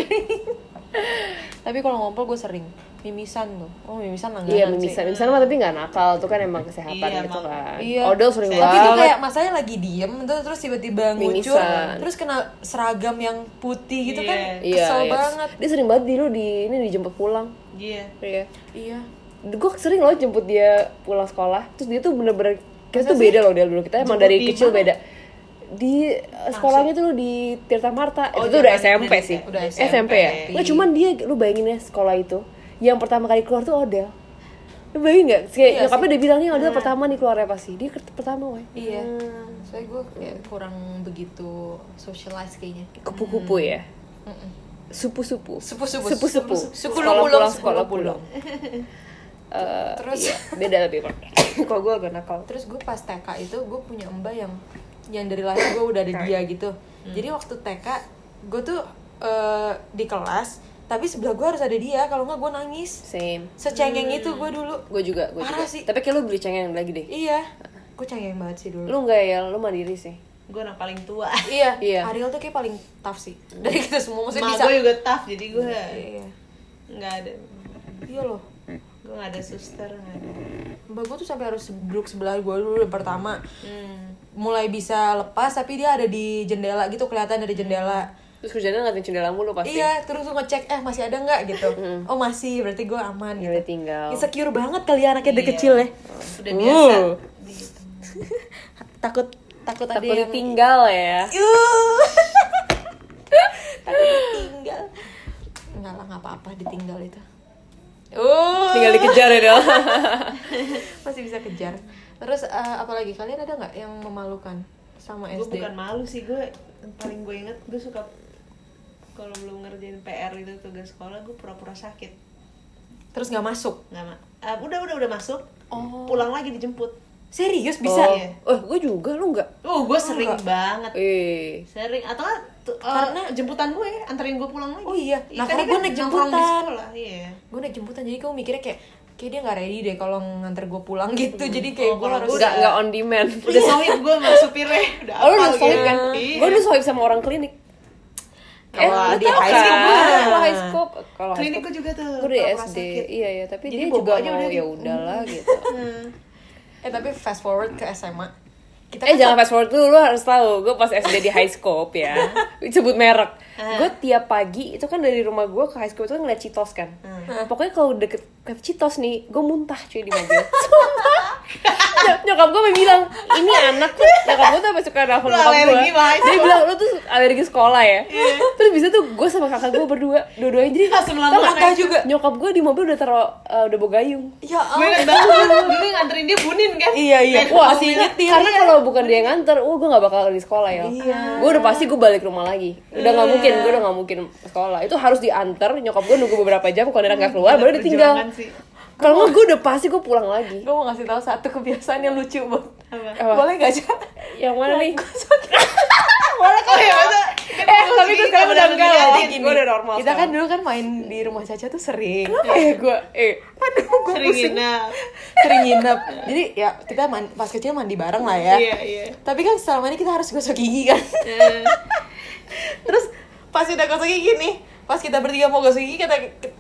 [SPEAKER 1] Tapi kalau ngompol gue sering mimisan tuh. Oh mimisan langganan
[SPEAKER 2] <laughs> Iya,
[SPEAKER 1] sih.
[SPEAKER 2] mimisan Mimisan mah tapi gak nakal Itu kan emang kesehatan
[SPEAKER 3] Iya,
[SPEAKER 2] gitu
[SPEAKER 3] emang.
[SPEAKER 2] kan
[SPEAKER 1] Iya.
[SPEAKER 2] Odol sering
[SPEAKER 1] Tapi itu kayak
[SPEAKER 2] banget
[SPEAKER 1] masalahnya lagi diem tuh terus tiba-tiba ngucur
[SPEAKER 2] Mimisan.
[SPEAKER 1] terus kena seragam yang putih gitu kan
[SPEAKER 3] Iya.
[SPEAKER 2] Iya,
[SPEAKER 1] kesel
[SPEAKER 2] iya.
[SPEAKER 1] banget.
[SPEAKER 2] Dia sering banget dulu di ini dijemput pulang
[SPEAKER 3] Iya.
[SPEAKER 2] Iya
[SPEAKER 1] Iya.
[SPEAKER 2] Gue sering loh jemput dia pulang sekolah Terus dia tuh bener-bener Kita tuh beda loh dia dulu Kita emang
[SPEAKER 3] Jemput
[SPEAKER 2] dari
[SPEAKER 3] di
[SPEAKER 2] kecil
[SPEAKER 3] mana?
[SPEAKER 2] beda di eh, sekolahnya tuh di Tirta Marta
[SPEAKER 3] Oh,
[SPEAKER 2] itu tuh udah
[SPEAKER 3] zaman-
[SPEAKER 2] SMP
[SPEAKER 3] udah-
[SPEAKER 2] sih
[SPEAKER 1] udah
[SPEAKER 2] SMP,
[SPEAKER 1] SMP.
[SPEAKER 2] ya nggak cuman dia lu bayangin ya sekolah itu yang pertama kali keluar tuh Odell lu bayangin nggak kayak
[SPEAKER 1] Iya
[SPEAKER 2] nyokapnya udah bilang nih Odell pertama nih keluarnya pasti dia ker- pertama weh Hmm.
[SPEAKER 1] Iya. Soalnya gue kayak
[SPEAKER 2] Iya.
[SPEAKER 1] kurang begitu socialize kayaknya.
[SPEAKER 2] kupu-kupu ya supu-supu
[SPEAKER 1] Supu-supu.
[SPEAKER 2] supu-supu
[SPEAKER 1] Suku
[SPEAKER 2] sekolah
[SPEAKER 1] pulang,
[SPEAKER 2] pulang
[SPEAKER 1] suku
[SPEAKER 2] sekolah
[SPEAKER 1] pulang.
[SPEAKER 2] pulang Eh,
[SPEAKER 1] Terus-
[SPEAKER 2] iya, beda tapi Pak. <coughs> kalau gue agak nakal
[SPEAKER 1] terus gue pas TK itu gue punya mbak yang yang dari lahir gue udah ada dia gitu jadi waktu TK gue tuh eh, di kelas tapi sebelah gue harus ada dia kalau nggak gue nangis
[SPEAKER 2] same
[SPEAKER 1] secengeng itu gue dulu
[SPEAKER 2] gue juga gue juga
[SPEAKER 1] Parah sih.
[SPEAKER 2] tapi kayak lu beli cengeng lagi deh
[SPEAKER 1] iya gue cengeng banget sih dulu
[SPEAKER 2] lu nggak ya lu mandiri sih
[SPEAKER 3] gue anak paling tua
[SPEAKER 1] iya
[SPEAKER 2] Iya.
[SPEAKER 1] Ariel tuh kayak paling tough sih <laughs> dari kita semua maksudnya
[SPEAKER 3] Mak
[SPEAKER 1] bisa
[SPEAKER 3] gue juga tough jadi gue
[SPEAKER 1] iya
[SPEAKER 3] nggak ada
[SPEAKER 1] iya loh
[SPEAKER 3] gue nggak ada suster nggak ada
[SPEAKER 1] mbak gue tuh sampai harus duduk sebelah gue dulu yang pertama
[SPEAKER 3] hmm.
[SPEAKER 1] mulai bisa lepas tapi dia ada di jendela gitu kelihatan dari jendela
[SPEAKER 2] terus kerjanya ngeliatin jendela mulu pasti
[SPEAKER 1] iya terus gue ngecek eh masih ada nggak gitu oh masih berarti gue aman
[SPEAKER 2] Nggak
[SPEAKER 1] gitu
[SPEAKER 2] ditinggal
[SPEAKER 1] insecure banget kali ya anaknya
[SPEAKER 2] Iya.
[SPEAKER 1] dari kecil ya
[SPEAKER 3] Iya. udah biasa
[SPEAKER 2] Wow.
[SPEAKER 3] gitu.
[SPEAKER 1] takut takut ada
[SPEAKER 2] takut
[SPEAKER 1] yang
[SPEAKER 2] ditinggal ya <laughs>
[SPEAKER 1] Yuh. takut ditinggal nggak lah nggak apa-apa ditinggal itu uh
[SPEAKER 2] tinggal dikejar ya Del.
[SPEAKER 1] <laughs> masih bisa kejar terus eh, apalagi kalian ada nggak yang memalukan sama
[SPEAKER 3] gue
[SPEAKER 1] SD
[SPEAKER 3] bukan malu sih gue paling gue inget gue suka kalau belum ngerjain PR itu tugas sekolah gue pura-pura sakit
[SPEAKER 1] terus nggak masuk
[SPEAKER 3] nggak mak Ah, udah udah udah masuk
[SPEAKER 1] Oh.
[SPEAKER 3] pulang lagi dijemput
[SPEAKER 1] serius
[SPEAKER 2] oh,
[SPEAKER 1] bisa
[SPEAKER 3] Iya.
[SPEAKER 2] oh gue juga lu nggak
[SPEAKER 3] oh gue sering banget
[SPEAKER 2] eh
[SPEAKER 3] sering atau nggak, tu- eh,
[SPEAKER 1] Karena-
[SPEAKER 3] jemputan gue anterin gue pulang lagi
[SPEAKER 1] Oh iya.
[SPEAKER 3] Ih,
[SPEAKER 1] Nah,
[SPEAKER 3] kan
[SPEAKER 1] karena
[SPEAKER 3] dia
[SPEAKER 1] gue
[SPEAKER 3] kan
[SPEAKER 1] naik
[SPEAKER 3] nongkrong di
[SPEAKER 1] jemputan.
[SPEAKER 3] sekolah iya
[SPEAKER 1] gue naik jemputan jadi kamu mikirnya kayak kayak dia nggak ready deh kalau nganter gue pulang gitu jadi kayak
[SPEAKER 3] Oh,
[SPEAKER 1] gue
[SPEAKER 3] kalau
[SPEAKER 1] harus
[SPEAKER 3] gue
[SPEAKER 2] nggak nggak on demand
[SPEAKER 3] udah sohib gue sama ya. supirnya <laughs> udah
[SPEAKER 2] <laughs> Iya. oh lu
[SPEAKER 3] hafal
[SPEAKER 2] udah sohib
[SPEAKER 3] gitu.
[SPEAKER 2] kan
[SPEAKER 3] Iya.
[SPEAKER 2] gue udah sohib sama orang klinik eh
[SPEAKER 1] Kalau
[SPEAKER 2] lu
[SPEAKER 1] di
[SPEAKER 2] tau
[SPEAKER 1] high
[SPEAKER 2] kan
[SPEAKER 1] school gue.
[SPEAKER 2] kalau high school kalau high
[SPEAKER 3] klinik
[SPEAKER 2] school
[SPEAKER 3] gue juga tuh
[SPEAKER 2] gue di
[SPEAKER 3] pura-pura
[SPEAKER 2] SD
[SPEAKER 3] sakit.
[SPEAKER 2] iya ya tapi
[SPEAKER 3] Jadi
[SPEAKER 2] dia juga
[SPEAKER 3] bawaannya
[SPEAKER 2] mau
[SPEAKER 3] udah
[SPEAKER 2] ya
[SPEAKER 3] di-
[SPEAKER 2] udahlah gitu
[SPEAKER 3] Hmm.
[SPEAKER 1] eh tapi fast forward ke SMA kita kan
[SPEAKER 2] eh jangan fast forward dulu, lu harus tahu gue pas SD di high scope
[SPEAKER 3] <laughs>
[SPEAKER 2] ya sebut merek
[SPEAKER 3] Eh.
[SPEAKER 2] gue tiap pagi itu kan dari rumah gue ke high scope itu kan ngeliat Citos kan
[SPEAKER 3] Hmm.
[SPEAKER 2] pokoknya kalau deket ke Citos nih gue muntah cuy di
[SPEAKER 3] <laughs>
[SPEAKER 2] mobil Sumpah. Nyok- nyokap gue bilang ini anak tuh nyokap gue tuh sampai suka nelfon
[SPEAKER 3] Lu
[SPEAKER 2] nyokap gue
[SPEAKER 3] alergi sama
[SPEAKER 2] dia
[SPEAKER 3] high school.
[SPEAKER 2] bilang lu tuh alergi sekolah ya terus bisa tuh gue sama kakak gue berdua dua-duanya jadi
[SPEAKER 3] Langsung
[SPEAKER 2] tau
[SPEAKER 3] lama
[SPEAKER 2] gak,
[SPEAKER 3] kayak juga.
[SPEAKER 2] nyokap gue di mobil udah taruh eh, udah bawa gayung
[SPEAKER 1] ya ampun
[SPEAKER 3] gue inget
[SPEAKER 1] <laughs>
[SPEAKER 3] banget dulu yang nganterin dia bunin kan
[SPEAKER 1] iya iya
[SPEAKER 2] Oh. Wah,
[SPEAKER 1] masih
[SPEAKER 2] karena-
[SPEAKER 1] nyetir
[SPEAKER 2] Karena kalau bukan dia yang nganter, wah gue gak bakal di sekolah ya. Gue udah pasti gue balik rumah lagi. Udah nggak mungkin, gue udah nggak mungkin sekolah. Itu harus diantar. Nyokap gue nunggu beberapa jam, kalau dia nggak keluar, baru
[SPEAKER 3] Perjuangan
[SPEAKER 2] ditinggal.
[SPEAKER 3] sih.
[SPEAKER 2] Kalau nggak gue udah pasti gue pulang lagi.
[SPEAKER 1] gue mau ngasih tahu satu kebiasaan yang lucu banget
[SPEAKER 3] Apa?
[SPEAKER 2] Apa?
[SPEAKER 1] boleh gak Cak?
[SPEAKER 2] Yang mana nih?
[SPEAKER 3] Boleh kok ya masa
[SPEAKER 2] Oh, Eh, tapi gue sekarang udah enggak loh.
[SPEAKER 1] Jadi gini,
[SPEAKER 2] Gue udah normal.
[SPEAKER 1] kita kan dulu kan main di rumah Caca tuh sering
[SPEAKER 2] apa ya gue? Eh,
[SPEAKER 3] sering nginep
[SPEAKER 1] sering nginep jadi ya kita man- pas kecil mandi bareng
[SPEAKER 2] Ah,
[SPEAKER 1] lah ya
[SPEAKER 3] iya iya
[SPEAKER 1] tapi kan selama ini kita harus gosok gigi kan <laughs>
[SPEAKER 3] Eh,
[SPEAKER 1] terus pas udah gosok gigi nih pas kita bertiga mau gosok gigi kata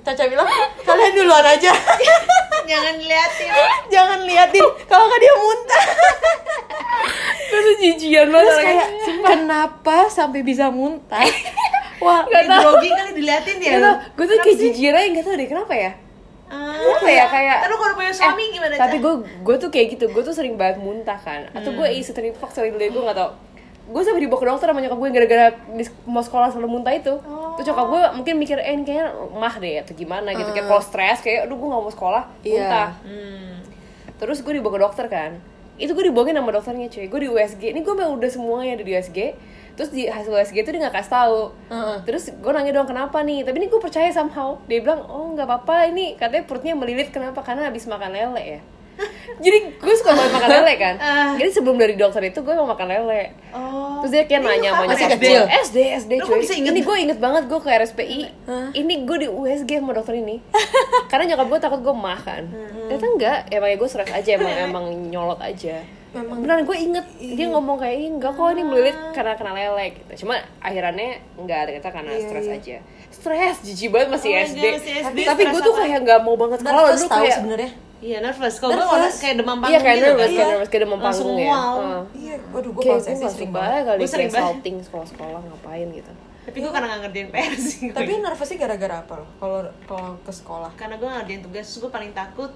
[SPEAKER 1] Caca bilang kalian duluan aja <laughs>
[SPEAKER 3] jangan liatin
[SPEAKER 1] jangan liatin kalau nggak dia muntah
[SPEAKER 2] gue tuh jijian banget.
[SPEAKER 1] terus kayak kenapa sampai bisa muntah <laughs> wah
[SPEAKER 2] Nggak
[SPEAKER 3] Di
[SPEAKER 2] tahu.
[SPEAKER 3] grogi kali diliatin dia lu.
[SPEAKER 2] gue tuh kayak jijian aja nggak tau deh kenapa ya.
[SPEAKER 3] Ah.
[SPEAKER 2] Kenapa ya kayak? Eh,
[SPEAKER 3] Terus kalau punya suami gimana?
[SPEAKER 2] tapi
[SPEAKER 3] Ca?
[SPEAKER 2] gue gue tuh kayak gitu gue tuh sering banget muntah kan atau gue isi terinfak sekali dulu gue nggak tau gue sampai dibawa ke dokter sama nyokap gue gara-gara dis- mau sekolah selalu muntah itu terus nyokap gue mungkin mikir eh ini kayaknya mah deh atau gimana gitu kayak kalau stres kayak aduh gue nggak mau sekolah
[SPEAKER 1] Iya.
[SPEAKER 2] muntah
[SPEAKER 3] Hmm.
[SPEAKER 2] terus gue dibawa ke dokter kan itu gue dibohongin sama dokternya cuy gue di USG ini gue memang udah semuanya ada di USG terus di hasil USG itu dia nggak kasih tahu
[SPEAKER 1] Heeh.
[SPEAKER 2] terus gue nanya dong kenapa nih tapi ini gue percaya somehow dia bilang oh nggak apa-apa ini katanya perutnya melilit kenapa karena habis makan lele ya jadi gue suka banget makan lele kan
[SPEAKER 3] Ah.
[SPEAKER 2] jadi sebelum dari dokter itu gue mau makan lele
[SPEAKER 3] Oh.
[SPEAKER 2] Terus dia kayak
[SPEAKER 3] Ini
[SPEAKER 2] nanya
[SPEAKER 3] lu
[SPEAKER 2] sama
[SPEAKER 3] kapan
[SPEAKER 1] Masih
[SPEAKER 2] nyokap
[SPEAKER 1] kecil?
[SPEAKER 2] gua, SD, SD
[SPEAKER 3] Lu kok
[SPEAKER 2] cuy
[SPEAKER 3] bisa inget?
[SPEAKER 2] Ini gue inget banget gue ke RSPI Ini gue di USG sama dokter
[SPEAKER 3] <laughs>
[SPEAKER 2] ini Karena nyokap gue takut gue mah kan
[SPEAKER 3] Hmm.
[SPEAKER 2] Ternyata enggak, emang ya gue stres aja
[SPEAKER 3] <laughs>
[SPEAKER 2] Emang, emang nyolot aja
[SPEAKER 1] Memang.
[SPEAKER 2] Beneran gue inget
[SPEAKER 3] Iya.
[SPEAKER 2] Dia ngomong kayak "Ih, enggak kok ini melilit
[SPEAKER 3] Ah.
[SPEAKER 2] karena kena lele gitu Cuma akhirannya enggak ternyata karena stres aja Stres, jijik banget masih
[SPEAKER 3] Iya, Oh my
[SPEAKER 2] SD
[SPEAKER 3] God, masih SD,
[SPEAKER 2] Tapi, tapi gue
[SPEAKER 3] stres
[SPEAKER 2] tuh
[SPEAKER 3] apa?
[SPEAKER 2] kayak nggak mau banget sekolah
[SPEAKER 1] Nervous
[SPEAKER 2] dulu
[SPEAKER 1] tahu
[SPEAKER 2] kayak
[SPEAKER 1] ya sebenarnya
[SPEAKER 3] Iya nervous. Kalau gue
[SPEAKER 1] Nervous.
[SPEAKER 3] orang kayak demam panggung
[SPEAKER 2] Iya kayak
[SPEAKER 3] gitu
[SPEAKER 2] nervous,
[SPEAKER 3] kan.
[SPEAKER 2] kayak nervous, kayak demam
[SPEAKER 3] Langsung
[SPEAKER 2] panggung ya
[SPEAKER 3] mual.
[SPEAKER 2] Heeh.
[SPEAKER 1] iya waduh gue
[SPEAKER 2] Kayak
[SPEAKER 1] pas
[SPEAKER 2] gue
[SPEAKER 1] SD
[SPEAKER 2] gak
[SPEAKER 1] sering
[SPEAKER 2] suka
[SPEAKER 1] banget
[SPEAKER 2] kali
[SPEAKER 3] Gua sering
[SPEAKER 2] kayak
[SPEAKER 3] banget.
[SPEAKER 2] salting sekolah-sekolah ngapain gitu
[SPEAKER 3] Tapi gue karena gak ngerjain PR sih. gua. gitu.
[SPEAKER 1] tapi nervousnya gara-gara apa lo kalau kalau ke sekolah
[SPEAKER 3] karena gue gak ngerjain tugas, gue paling takut.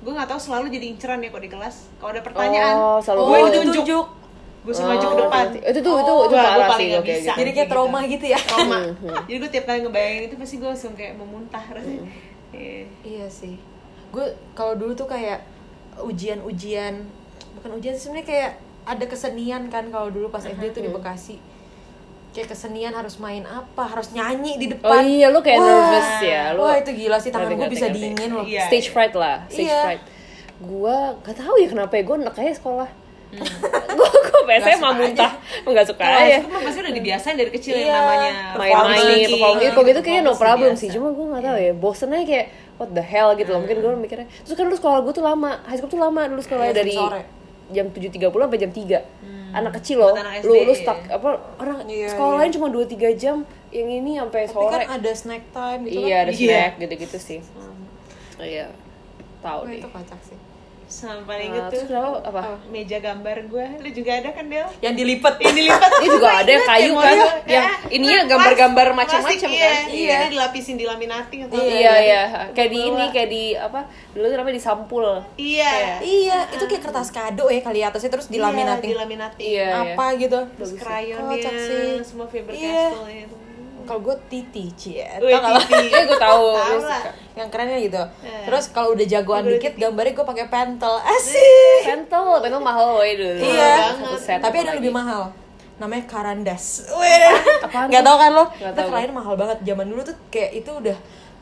[SPEAKER 3] Gue gak tahu selalu jadi inceran ya kok di kelas. Kalau ada pertanyaan,
[SPEAKER 2] Oh, selalu
[SPEAKER 3] gue
[SPEAKER 2] gua.
[SPEAKER 3] ditunjuk. Gue sih maju ke depan.
[SPEAKER 2] Oh, Itu tuh itu itu
[SPEAKER 3] Wah, gua
[SPEAKER 2] parah
[SPEAKER 3] paling
[SPEAKER 2] sih
[SPEAKER 3] nggak
[SPEAKER 2] oke
[SPEAKER 3] bisa.
[SPEAKER 2] gitu. Hmm,
[SPEAKER 1] jadi kayak
[SPEAKER 3] Gitu.
[SPEAKER 1] trauma gitu ya
[SPEAKER 3] Trauma. Jadi gue tiap kali ngebayangin itu pasti gue langsung kayak memuntah
[SPEAKER 2] Hmm.
[SPEAKER 3] rasanya. Iya.
[SPEAKER 1] <laughs> Iya sih. Gue kalau dulu tuh kayak ujian-ujian, bukan ujian sih sebenarnya kayak ada kesenian kan kalau dulu pas SD tuh di Bekasi. Kayak kesenian harus main apa, harus nyanyi di depan.
[SPEAKER 2] Oh iya, lu kayak nervous ya, lu-
[SPEAKER 1] Wah, itu gila sih tangan
[SPEAKER 2] Ngerti,
[SPEAKER 1] gue
[SPEAKER 2] ngerti,
[SPEAKER 1] bisa
[SPEAKER 2] ngerti.
[SPEAKER 1] dingin loh.
[SPEAKER 3] Iya.
[SPEAKER 2] Stage fright lah, stage
[SPEAKER 1] Iya.
[SPEAKER 2] fright. gue gak tahu ya kenapa ya gue enak aja sekolah <laughs> Hmm. gue gue biasanya mah muntah nggak suka
[SPEAKER 3] Kalau
[SPEAKER 2] aja
[SPEAKER 3] ice cream pasti udah dibiasain dari kecil yang
[SPEAKER 1] Iya.
[SPEAKER 3] namanya
[SPEAKER 2] main-main
[SPEAKER 3] performance
[SPEAKER 2] perform
[SPEAKER 3] tinggi.
[SPEAKER 2] gitu gitu kayaknya no
[SPEAKER 3] Performance
[SPEAKER 2] problem
[SPEAKER 3] biasa.
[SPEAKER 2] sih cuma gue nggak
[SPEAKER 1] Iya.
[SPEAKER 2] tahu ya bosen aja kayak what the hell gitu loh mungkin gue mikirnya terus kan dulu sekolah gue tuh lama high school tuh lama dulu
[SPEAKER 1] Iya,
[SPEAKER 2] sekolahnya
[SPEAKER 1] Hmm. jam
[SPEAKER 2] dari
[SPEAKER 1] sore.
[SPEAKER 2] jam 7.30 sampai jam 3 anak kecil loh
[SPEAKER 3] Buat anak
[SPEAKER 2] lu
[SPEAKER 3] SD,
[SPEAKER 2] lu
[SPEAKER 3] iya.
[SPEAKER 2] stuck apa orang
[SPEAKER 1] Iya,
[SPEAKER 2] sekolah
[SPEAKER 1] iya.
[SPEAKER 2] lain cuma 2-3 jam yang ini sampai
[SPEAKER 1] Tapi
[SPEAKER 2] sore
[SPEAKER 1] kan ada snack time gitu
[SPEAKER 2] iya ada
[SPEAKER 1] kan.
[SPEAKER 3] Iya.
[SPEAKER 2] snack gitu-gitu sih iya tahu
[SPEAKER 1] Wah,
[SPEAKER 2] deh
[SPEAKER 1] Oh, itu kocak sih.
[SPEAKER 3] sama paling
[SPEAKER 2] Nah,
[SPEAKER 3] itu
[SPEAKER 2] terus kenapa apa
[SPEAKER 1] Oh.
[SPEAKER 3] meja gambar gue lu juga ada kan Del
[SPEAKER 1] Yang dilipet.
[SPEAKER 3] yang dilipat
[SPEAKER 2] Ini juga ada <laughs>
[SPEAKER 1] ya,
[SPEAKER 2] yang kayu
[SPEAKER 3] Yang
[SPEAKER 2] kan,
[SPEAKER 3] warna-
[SPEAKER 2] yang
[SPEAKER 3] eh,
[SPEAKER 2] ininya
[SPEAKER 3] plastik-
[SPEAKER 2] gambar-gambar
[SPEAKER 3] plastik,
[SPEAKER 2] macam-macam
[SPEAKER 3] iya.
[SPEAKER 2] kan.
[SPEAKER 3] iya ini dilapisin dilaminating atau
[SPEAKER 1] Iya,
[SPEAKER 2] Iya
[SPEAKER 1] iya.
[SPEAKER 2] iya, kayak di ini kayak di apa dulu tuh namanya di sampul.
[SPEAKER 3] iya
[SPEAKER 1] Iya, itu kayak kertas kado ya kali atasnya terus
[SPEAKER 3] Iya,
[SPEAKER 1] dilaminating
[SPEAKER 3] dilaminating
[SPEAKER 2] Iya.
[SPEAKER 1] apa gitu.
[SPEAKER 3] terus krayonnya
[SPEAKER 1] Kocak sih.
[SPEAKER 3] semua fiber
[SPEAKER 1] Iya.
[SPEAKER 3] castle itu
[SPEAKER 1] Kalau gue titi cie,
[SPEAKER 3] Wih,
[SPEAKER 1] tau gak lo?
[SPEAKER 2] <laughs>
[SPEAKER 3] Titi.
[SPEAKER 2] Iya gue tahu.
[SPEAKER 3] Tahu
[SPEAKER 2] Gue
[SPEAKER 3] lah.
[SPEAKER 2] suka.
[SPEAKER 1] yang kerennya gitu.
[SPEAKER 3] Eh.
[SPEAKER 1] Terus kalau udah jagoan
[SPEAKER 3] Udah
[SPEAKER 1] dikit gambarnya gue pakai pentel. Asik.
[SPEAKER 2] Pentel, pentel mahal woy dulu.
[SPEAKER 1] Iya.
[SPEAKER 2] Satu set.
[SPEAKER 1] Tapi ada
[SPEAKER 2] apalagi.
[SPEAKER 1] lebih mahal. Namanya karandas. Weh. Gak tau kan lo?
[SPEAKER 2] Nggak
[SPEAKER 1] Kita
[SPEAKER 2] tahu.
[SPEAKER 1] klien mahal banget. Zaman dulu tuh kayak itu udah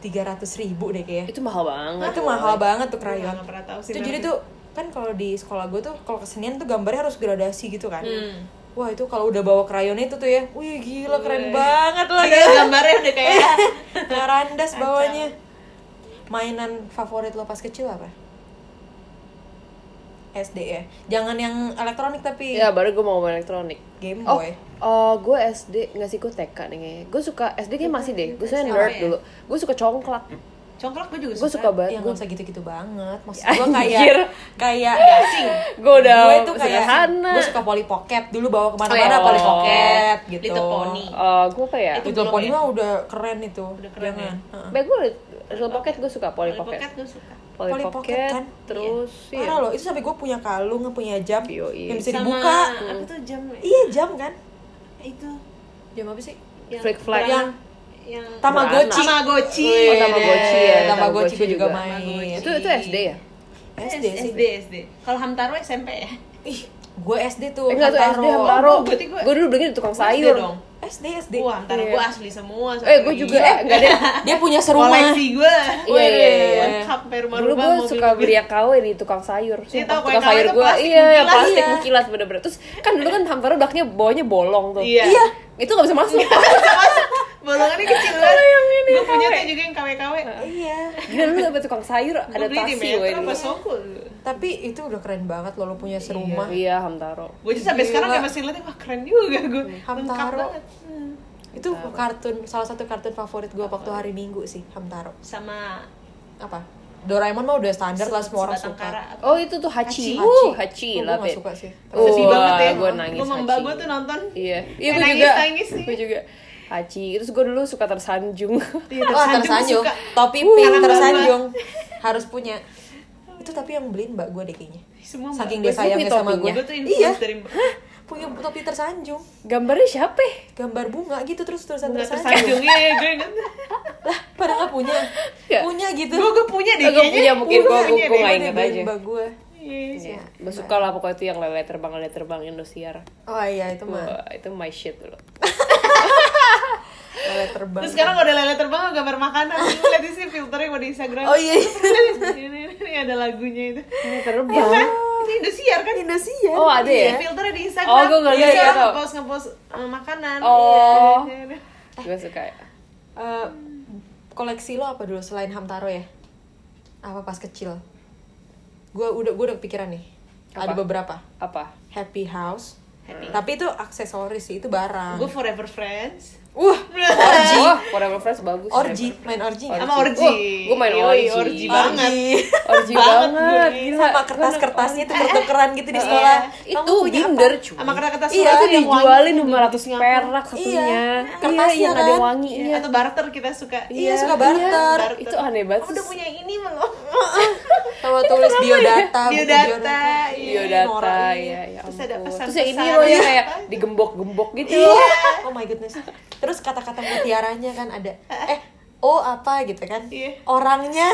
[SPEAKER 1] 300 ribu deh kayaknya.
[SPEAKER 2] Itu mahal banget.
[SPEAKER 1] Itu
[SPEAKER 2] woy.
[SPEAKER 1] mahal banget tuh
[SPEAKER 3] Gua
[SPEAKER 1] krayon.
[SPEAKER 3] nggak pernah tahu sih
[SPEAKER 1] Itu
[SPEAKER 3] tapi-
[SPEAKER 1] jadi tuh kan kalau di sekolah gue tuh kalau kesenian tuh gambarnya harus gradasi gitu kan. Wah itu kalau udah bawa krayonnya itu tuh ya, wih gila keren banget
[SPEAKER 3] <laughs>
[SPEAKER 1] lah
[SPEAKER 3] Iya,
[SPEAKER 1] ya.
[SPEAKER 3] gambarnya udah
[SPEAKER 2] Eh,
[SPEAKER 3] kayak
[SPEAKER 1] Karandas bawahnya. Mainan favorit lo pas kecil apa? SD ya. Jangan yang elektronik tapi
[SPEAKER 2] Ya baru gue mau main elektronik.
[SPEAKER 1] Game
[SPEAKER 2] Oh,
[SPEAKER 1] Boy.
[SPEAKER 2] eh, gue SD nggak sih gue TK nih kayaknya. Gue suka SD kayak masih deh. Gue suka nerd
[SPEAKER 3] ya?
[SPEAKER 2] dulu. Gue suka congklak.
[SPEAKER 3] congklak gue juga
[SPEAKER 2] Gue
[SPEAKER 1] Ya
[SPEAKER 2] suka banget.
[SPEAKER 1] nggak
[SPEAKER 2] Gue
[SPEAKER 1] usah gitu-gitu banget. Maksud
[SPEAKER 2] Ya,
[SPEAKER 1] gue
[SPEAKER 2] anjir.
[SPEAKER 1] kayak kayak
[SPEAKER 2] gue udah
[SPEAKER 1] gue tuh kayak
[SPEAKER 2] sederhana.
[SPEAKER 1] gue suka Polly Pocket dulu bawa kemana-mana
[SPEAKER 2] Oh, iya.
[SPEAKER 1] Polly Pocket gitu.
[SPEAKER 3] Little Pony.
[SPEAKER 2] Eh, gue apa ya?
[SPEAKER 3] Itu
[SPEAKER 1] Little
[SPEAKER 3] belum
[SPEAKER 1] Pony
[SPEAKER 3] ya?
[SPEAKER 1] mah udah keren itu.
[SPEAKER 3] Udah keren ya?
[SPEAKER 1] Jangan. Heeh.
[SPEAKER 2] Baik gue Little Pocket gue suka Polly Pocket.
[SPEAKER 3] Pocket gue suka
[SPEAKER 2] Polly
[SPEAKER 1] Polly Pocket,
[SPEAKER 2] Pocket,
[SPEAKER 1] kan?
[SPEAKER 2] terus iya.
[SPEAKER 1] Parah loh, itu sampai gue punya kalung, punya jam
[SPEAKER 2] Yoi.
[SPEAKER 1] yang bisa
[SPEAKER 3] Sama,
[SPEAKER 1] dibuka.
[SPEAKER 3] apa tuh jam ya?
[SPEAKER 1] Iya jam kan?
[SPEAKER 3] itu
[SPEAKER 1] Jam apa sih?
[SPEAKER 3] yang
[SPEAKER 2] Flick flack.
[SPEAKER 3] yang yang
[SPEAKER 1] Tamagotchi.
[SPEAKER 3] Tamagotchi.
[SPEAKER 2] Oh, Tamagotchi ya,
[SPEAKER 1] Iya, Tamagotchi
[SPEAKER 2] Tamagotchi
[SPEAKER 1] gue juga
[SPEAKER 2] juga.
[SPEAKER 1] main.
[SPEAKER 2] Itu itu SD ya?
[SPEAKER 3] Eh,
[SPEAKER 1] SD sih.
[SPEAKER 3] SD SD kalau Hamtaro SMP ya
[SPEAKER 1] Ih, gue SD tuh.
[SPEAKER 2] Eh, enggak tuh SD
[SPEAKER 1] Hamtaro.
[SPEAKER 2] Hamtaro.
[SPEAKER 3] Oh, berarti gua-
[SPEAKER 2] Gue dulu belinya di tukang
[SPEAKER 3] Gua SD
[SPEAKER 2] sayur.
[SPEAKER 3] dong
[SPEAKER 1] SD SD.
[SPEAKER 3] Wah, Hamtaro
[SPEAKER 2] Iya.
[SPEAKER 3] gue asli semua
[SPEAKER 2] Eh, gue juga eh enggak
[SPEAKER 3] <laughs> Iya.
[SPEAKER 2] ada.
[SPEAKER 1] Dia punya serumah.
[SPEAKER 3] koleksi gue
[SPEAKER 2] Iya, iya, iya.
[SPEAKER 3] lengkap sampai
[SPEAKER 2] <laughs> Dulu
[SPEAKER 3] rumah-rumah
[SPEAKER 2] gue
[SPEAKER 3] mobil-mobil.
[SPEAKER 2] suka beli KW di tukang sayur.
[SPEAKER 3] Iya,
[SPEAKER 2] Sumpah,
[SPEAKER 3] tahu,
[SPEAKER 2] tukang
[SPEAKER 3] KW
[SPEAKER 2] sayur
[SPEAKER 3] itu
[SPEAKER 2] gue
[SPEAKER 3] plastik ya.
[SPEAKER 2] iya yang
[SPEAKER 3] mengkilat,
[SPEAKER 2] plastik
[SPEAKER 1] iya.
[SPEAKER 2] mengkilat bener-bener. Terus kan dulu kan Hamtaro daknya bawahnya bolong tuh.
[SPEAKER 3] Iya.
[SPEAKER 1] Iya.
[SPEAKER 2] Itu gak bisa masuk. <laughs>
[SPEAKER 3] bolongannya kecil banget
[SPEAKER 2] yang ini,
[SPEAKER 3] gue punya tuh juga yang KW-KW
[SPEAKER 1] Iya.
[SPEAKER 2] <laughs> Gila dulu dapet tukang sayur ada
[SPEAKER 3] gue beli
[SPEAKER 2] tasi
[SPEAKER 3] di metro
[SPEAKER 2] woy
[SPEAKER 3] apa
[SPEAKER 2] dulu.
[SPEAKER 3] Soko
[SPEAKER 1] Tapi itu udah keren banget loh lo punya serumah.
[SPEAKER 2] Iya, Hamtaro.
[SPEAKER 3] gue aja sampai
[SPEAKER 1] Gila.
[SPEAKER 3] sekarang kayak masih ngeliatnya wah keren juga gue lengkap
[SPEAKER 1] Hamtaro.
[SPEAKER 3] banget Hmm.
[SPEAKER 1] Itu kartun salah satu kartun favorit gue waktu hari Minggu sih, Hamtaro.
[SPEAKER 3] sama
[SPEAKER 1] Apa? Doraemon mah udah standar lah semua orang
[SPEAKER 3] sebatang
[SPEAKER 1] suka.
[SPEAKER 3] kara apa.
[SPEAKER 2] Oh, itu tuh Hachi.
[SPEAKER 1] Hachi. Oh, gua
[SPEAKER 2] Uh, Hachi lah,
[SPEAKER 1] nggak
[SPEAKER 2] Be.
[SPEAKER 1] suka sih.
[SPEAKER 2] Wah,
[SPEAKER 3] sedih banget ya
[SPEAKER 2] Gue nangis
[SPEAKER 3] gue mbak
[SPEAKER 2] Hachi.
[SPEAKER 3] gue tuh nonton
[SPEAKER 2] Iya,
[SPEAKER 3] Eh,
[SPEAKER 2] iya gue
[SPEAKER 3] nangis,
[SPEAKER 2] juga.
[SPEAKER 3] nangis sih.
[SPEAKER 2] Gue juga. Haji. Terus gue dulu suka tersanjung. <laughs>
[SPEAKER 1] Wah Oh, tersanjung,
[SPEAKER 3] Iya, suka.
[SPEAKER 1] topi
[SPEAKER 3] Uh,
[SPEAKER 1] pink
[SPEAKER 3] karena mbak
[SPEAKER 1] tersanjung harus punya. Itu tapi yang beliin mbak gue deh kayaknya.
[SPEAKER 3] Semua Oh, mbak
[SPEAKER 1] Saking
[SPEAKER 3] gue.
[SPEAKER 1] dia
[SPEAKER 2] Lu
[SPEAKER 1] sayangnya
[SPEAKER 2] punya
[SPEAKER 1] sama
[SPEAKER 2] topinya?
[SPEAKER 1] gue.
[SPEAKER 3] gue tuh
[SPEAKER 1] Iya,
[SPEAKER 3] influence dari mbak
[SPEAKER 1] punya topi tersanjung,
[SPEAKER 2] Gambarnya siapa? ya?
[SPEAKER 1] gambar bunga gitu terus terusan
[SPEAKER 3] Bunga
[SPEAKER 1] tersanjung.
[SPEAKER 3] tersanjung iya iya, gue
[SPEAKER 2] <laughs>
[SPEAKER 3] inget
[SPEAKER 1] Lah, pada nggak punya,
[SPEAKER 2] Nggak.
[SPEAKER 1] punya gitu.
[SPEAKER 3] gue gue punya deh
[SPEAKER 2] Eh, gue punya
[SPEAKER 3] kayaknya
[SPEAKER 2] mungkin gue gue
[SPEAKER 3] Ya.
[SPEAKER 2] gue
[SPEAKER 3] punya deh,
[SPEAKER 2] nggak
[SPEAKER 1] Dia
[SPEAKER 2] inget
[SPEAKER 1] beliin
[SPEAKER 2] aja.
[SPEAKER 1] mbak gue.
[SPEAKER 3] Iya.
[SPEAKER 2] Iya. Gue suka lah pokoknya itu yang lele terbang lele terbang Indosiar.
[SPEAKER 1] Oh iya itu mah
[SPEAKER 2] Wah, itu my shit dulu.
[SPEAKER 1] lele terbang.
[SPEAKER 3] Terus sekarang udah lele terbang gambar
[SPEAKER 2] <laughs>
[SPEAKER 3] makanan. Lu Lihat sih filternya gue di Instagram.
[SPEAKER 1] Oh iya,
[SPEAKER 3] <laughs> ini, ini ada lagunya itu.
[SPEAKER 2] Lele
[SPEAKER 3] Iya kan?
[SPEAKER 2] terbang.
[SPEAKER 3] Ini Indosiar kan?
[SPEAKER 1] Indosiar.
[SPEAKER 2] Oh ada ya.
[SPEAKER 3] Iya, filternya di Instagram.
[SPEAKER 2] Oh, gua nggak lihat,
[SPEAKER 3] Biasa
[SPEAKER 2] nggak
[SPEAKER 3] orang
[SPEAKER 2] tahu.
[SPEAKER 3] ngepost ngepost eh, makanan.
[SPEAKER 2] Oh.
[SPEAKER 3] Iya, iya, iya.
[SPEAKER 2] Gue suka. ya.
[SPEAKER 1] Eh, koleksi lo apa dulu selain Hamtaro ya? Apa pas kecil? Gue udah gue udah kepikiran nih.
[SPEAKER 2] Apa?
[SPEAKER 1] Ada beberapa.
[SPEAKER 2] Apa?
[SPEAKER 1] Happy House. Tapi itu aksesoris sih, itu
[SPEAKER 3] Gue
[SPEAKER 1] barang.
[SPEAKER 3] forever friends.
[SPEAKER 1] Wah,
[SPEAKER 2] Ah. Orgy. Oh, Forever Fresh bagus.
[SPEAKER 1] orgy, main orgy. nggak?
[SPEAKER 3] <laughs> Sama orgy.
[SPEAKER 2] Wah, gua main
[SPEAKER 3] Yoi,
[SPEAKER 2] orgy.
[SPEAKER 3] orgy
[SPEAKER 2] Orgy.
[SPEAKER 3] banget.
[SPEAKER 2] Orgy
[SPEAKER 3] Banget,
[SPEAKER 2] banget.
[SPEAKER 3] gue.
[SPEAKER 2] Gila.
[SPEAKER 1] <laughs> Sama kertas-kertasnya itu bertukeran gitu di sekolah. Kamu
[SPEAKER 2] Itu
[SPEAKER 1] punya
[SPEAKER 2] binder
[SPEAKER 1] apa?
[SPEAKER 2] cuy.
[SPEAKER 3] Sama kertas-kertas
[SPEAKER 1] Iya,
[SPEAKER 3] surat
[SPEAKER 2] itu
[SPEAKER 3] yang wangi gitu. Iya.
[SPEAKER 2] dijualin
[SPEAKER 3] tuh di
[SPEAKER 2] 500
[SPEAKER 3] Singapura.
[SPEAKER 2] perak satunya.
[SPEAKER 1] Iya,
[SPEAKER 2] Iya, yang
[SPEAKER 1] kertasnya
[SPEAKER 2] ada
[SPEAKER 1] kan?
[SPEAKER 3] Iya,
[SPEAKER 2] wanginya.
[SPEAKER 3] Atau barter kita suka.
[SPEAKER 1] Iya, suka barter.
[SPEAKER 2] Itu aneh banget.
[SPEAKER 3] Aku udah
[SPEAKER 2] sih.
[SPEAKER 3] punya ini <laughs> belum.
[SPEAKER 1] Sama tulis biodata, buku
[SPEAKER 3] Biodata. Iya.
[SPEAKER 2] biodata
[SPEAKER 1] norak,
[SPEAKER 2] ya ya
[SPEAKER 3] Terus
[SPEAKER 2] ampun.
[SPEAKER 3] ada pesan-pesan.
[SPEAKER 2] terus yang ini loh yang kayak digembok-gembok gitu loh
[SPEAKER 1] Oh my goodness. Terus kata-kata mutiaranya kan ada. Eh, oh apa gitu kan?
[SPEAKER 3] Iya.
[SPEAKER 1] Orangnya.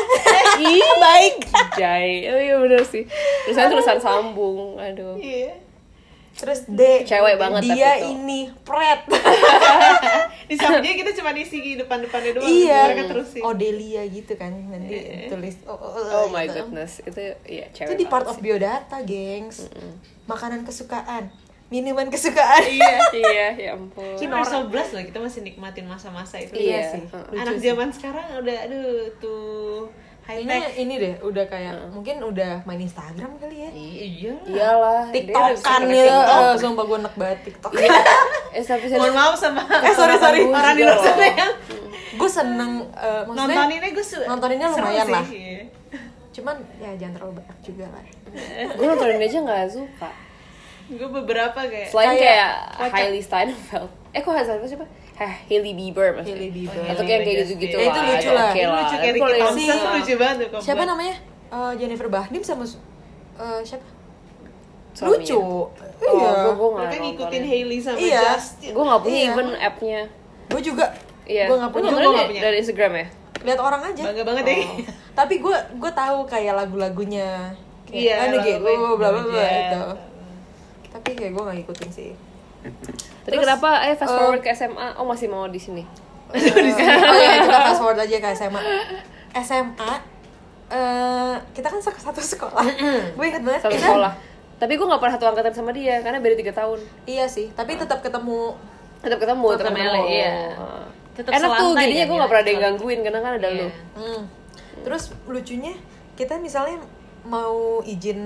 [SPEAKER 2] ih baik jai oh iya bener sih tulisan tulisan sambung aduh
[SPEAKER 3] Iya. <laughs>
[SPEAKER 1] Terus D.
[SPEAKER 2] Cewek banget tapi
[SPEAKER 1] Dia
[SPEAKER 2] itu.
[SPEAKER 1] ini pret.
[SPEAKER 3] di sampingnya kita cuma isi di depan-depannya doang
[SPEAKER 1] <laughs>
[SPEAKER 3] gitu,
[SPEAKER 1] iya
[SPEAKER 3] mereka terusin
[SPEAKER 1] Odelia gitu kan nanti tulis oh, oh,
[SPEAKER 2] Iya. Oh my
[SPEAKER 1] gitu.
[SPEAKER 2] goodness, itu ya cewek.
[SPEAKER 1] itu di part
[SPEAKER 2] banget
[SPEAKER 1] of biodata gengs makanan kesukaan minuman kesukaan <laughs>
[SPEAKER 3] iya
[SPEAKER 2] sih. <laughs> iya, ya ampun.
[SPEAKER 3] Kita umur 11 lah, kita masih nikmatin masa-masa itu
[SPEAKER 1] Iya sih.
[SPEAKER 3] Anak zaman sekarang udah, aduh, tuh high
[SPEAKER 1] ini
[SPEAKER 3] tech
[SPEAKER 1] ini deh udah kayak mungkin udah main Instagram kali ya
[SPEAKER 3] Iya
[SPEAKER 2] Iyalah, dia udah bisa
[SPEAKER 1] TikTokan
[SPEAKER 2] pakai
[SPEAKER 1] ya
[SPEAKER 2] TikTok.
[SPEAKER 1] eh, sumpah gue enak banget TikTok <laughs>
[SPEAKER 2] Eh, tapi
[SPEAKER 3] Mohon
[SPEAKER 2] serius,
[SPEAKER 3] maaf sama
[SPEAKER 1] Eh, sorry, sorry.
[SPEAKER 3] orang di luar sana yang
[SPEAKER 1] gue seneng eh, maksudnya
[SPEAKER 3] Nontoninnya gue su-
[SPEAKER 1] nontoninnya
[SPEAKER 3] seru
[SPEAKER 1] lumayan
[SPEAKER 3] sih,
[SPEAKER 1] lah.
[SPEAKER 3] iya.
[SPEAKER 1] cuman ya jangan terlalu banyak juga lah
[SPEAKER 2] gue nontonin aja gak suka.
[SPEAKER 3] Gue beberapa kayak
[SPEAKER 2] Selain
[SPEAKER 1] Kayak
[SPEAKER 2] kayak
[SPEAKER 3] kocak.
[SPEAKER 2] Hailey Steinfeld. Eh, kok Hailey Steinfeld siapa? Hah, Hailey Bieber maksudnya.
[SPEAKER 1] Hailey Bieber.
[SPEAKER 2] gitu.
[SPEAKER 3] Oh, iya,
[SPEAKER 2] Atau kayak kayak gitu-gitu
[SPEAKER 1] Ya,
[SPEAKER 2] lah. Iya.
[SPEAKER 1] itu lucu
[SPEAKER 2] ada
[SPEAKER 1] lah.
[SPEAKER 2] oke
[SPEAKER 1] Itu
[SPEAKER 2] lah.
[SPEAKER 3] lucu kayak
[SPEAKER 2] Tapi kalau
[SPEAKER 3] Ricky
[SPEAKER 2] yang-
[SPEAKER 3] Thompson tuh lucu banget tuh
[SPEAKER 1] siapa
[SPEAKER 3] kompak.
[SPEAKER 1] namanya Eh, Jennifer Bahdim sama su- eh, siapa
[SPEAKER 2] Suaminya.
[SPEAKER 1] lucu
[SPEAKER 2] Oh,
[SPEAKER 1] iya
[SPEAKER 2] gue gue nggak
[SPEAKER 3] Mereka ngikutin
[SPEAKER 2] nontonin.
[SPEAKER 3] Hailey sama
[SPEAKER 1] Iya.
[SPEAKER 3] Justin
[SPEAKER 2] Gue nggak punya
[SPEAKER 1] Iya.
[SPEAKER 2] even app-nya.
[SPEAKER 1] gue juga
[SPEAKER 2] Iya.
[SPEAKER 1] gue nggak
[SPEAKER 2] Lu
[SPEAKER 1] punya
[SPEAKER 2] nontonin
[SPEAKER 3] Gua nggak
[SPEAKER 2] dari-
[SPEAKER 3] punya.
[SPEAKER 2] dari Instagram ya.
[SPEAKER 1] lihat orang aja
[SPEAKER 3] Bangga banget ya
[SPEAKER 1] tapi gue gue tahu kayak lagu-lagunya
[SPEAKER 3] <laughs> Iya,
[SPEAKER 1] kayak anu gitu
[SPEAKER 3] lagu-lagu
[SPEAKER 1] bla bla bla
[SPEAKER 3] Gojek.
[SPEAKER 1] gitu tapi kayak gue gak ngikutin sih
[SPEAKER 2] Tadi kenapa eh fast forward ke SMA? Oh masih mau di sini.
[SPEAKER 1] oh iya kita fast forward aja ke SMA SMA eh, kita kan sek- satu sekolah gue inget banget
[SPEAKER 2] Satu
[SPEAKER 1] kita-
[SPEAKER 2] sekolah. Iya. Tapi gue gak pernah satu angkatan sama dia karena beda 3 tahun.
[SPEAKER 1] iya sih tapi tetap ketemu
[SPEAKER 2] Tetap ketemu,
[SPEAKER 3] Tetap
[SPEAKER 2] tetap
[SPEAKER 3] ketemu,
[SPEAKER 2] ketemu.
[SPEAKER 3] iya.
[SPEAKER 2] Heeh.
[SPEAKER 3] Tetap
[SPEAKER 2] Enak tuh
[SPEAKER 3] selantai
[SPEAKER 2] jadinya
[SPEAKER 3] kan
[SPEAKER 2] gue
[SPEAKER 3] dia,
[SPEAKER 2] gak pernah ada yang
[SPEAKER 3] selantai.
[SPEAKER 2] gangguin karena kan ada lu.
[SPEAKER 1] Hmm. Terus lucunya kita misalnya mau izin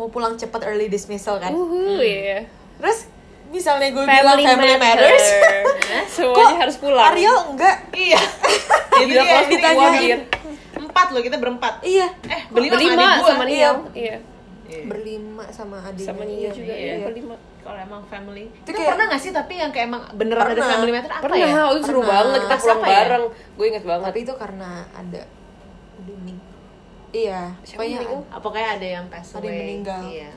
[SPEAKER 1] mau pulang cepat early dismissal kan.
[SPEAKER 2] Uhu, iya.
[SPEAKER 1] Terus misalnya gue bilang family matters. <laughs>
[SPEAKER 2] Semuanya harus pulang.
[SPEAKER 1] Ariel enggak.
[SPEAKER 3] Iya Jadi
[SPEAKER 2] Gila,
[SPEAKER 3] ya,
[SPEAKER 2] kalau
[SPEAKER 3] ini
[SPEAKER 2] ditanyain.
[SPEAKER 3] gua bikin. Empat loh, kita berempat
[SPEAKER 1] Iya.
[SPEAKER 3] Eh, beli
[SPEAKER 2] Berlima, sama
[SPEAKER 3] sama adik
[SPEAKER 1] Iya.
[SPEAKER 3] gue
[SPEAKER 2] dia. Iya.
[SPEAKER 1] Berlima sama adiknya.
[SPEAKER 2] Sama dia juga
[SPEAKER 1] Iya.
[SPEAKER 2] ya, berlima.
[SPEAKER 3] Kalau emang family
[SPEAKER 1] Itu
[SPEAKER 3] Itu
[SPEAKER 1] kayak-
[SPEAKER 3] pernah gak sih tapi yang kayak emang beneran ada
[SPEAKER 1] Pernah.
[SPEAKER 3] family matter apa
[SPEAKER 2] Pernah,
[SPEAKER 3] ya?
[SPEAKER 2] oh, itu seru
[SPEAKER 1] Pernah.
[SPEAKER 2] banget kita
[SPEAKER 1] Pas
[SPEAKER 2] pulang
[SPEAKER 3] apa ya?
[SPEAKER 2] bareng. Gue inget banget.
[SPEAKER 1] Tapi itu karena ada udah mening- Iya,
[SPEAKER 2] Siapa
[SPEAKER 1] pokoknya
[SPEAKER 2] meninggal?
[SPEAKER 3] Apa kayak ada yang pass
[SPEAKER 1] Ada
[SPEAKER 3] away
[SPEAKER 1] yang meninggal.
[SPEAKER 3] Iya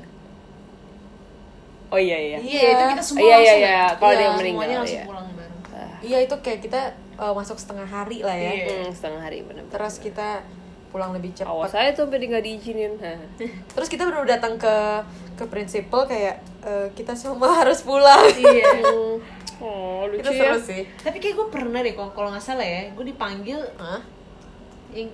[SPEAKER 2] Oh iya iya.
[SPEAKER 3] Iya,
[SPEAKER 1] Iya.
[SPEAKER 3] itu kita semua
[SPEAKER 2] Iya, iya,
[SPEAKER 3] langsung
[SPEAKER 2] iya.
[SPEAKER 3] ya?
[SPEAKER 1] ada
[SPEAKER 2] Kalau
[SPEAKER 1] yang
[SPEAKER 3] Semuanya
[SPEAKER 2] meninggal,
[SPEAKER 3] langsung
[SPEAKER 2] iya.
[SPEAKER 3] pulang bareng
[SPEAKER 1] iya itu kayak kita uh, masuk setengah hari lah ya.
[SPEAKER 3] Iya.
[SPEAKER 2] Hmm, setengah hari benar.
[SPEAKER 1] Terus kita pulang lebih cepat.
[SPEAKER 2] Awas saya tuh sampai nggak <laughs> diizinin. Hah.
[SPEAKER 1] Terus kita baru datang ke ke prinsipal kayak eh, kita semua <laughs> harus pulang.
[SPEAKER 3] Iya
[SPEAKER 2] Hmm. Oh, lucu
[SPEAKER 1] itu seru
[SPEAKER 2] ya.
[SPEAKER 1] sih.
[SPEAKER 3] Tapi kayak gue pernah deh, kalau kalau nggak salah ya Gue dipanggil
[SPEAKER 1] Hah?
[SPEAKER 3] yang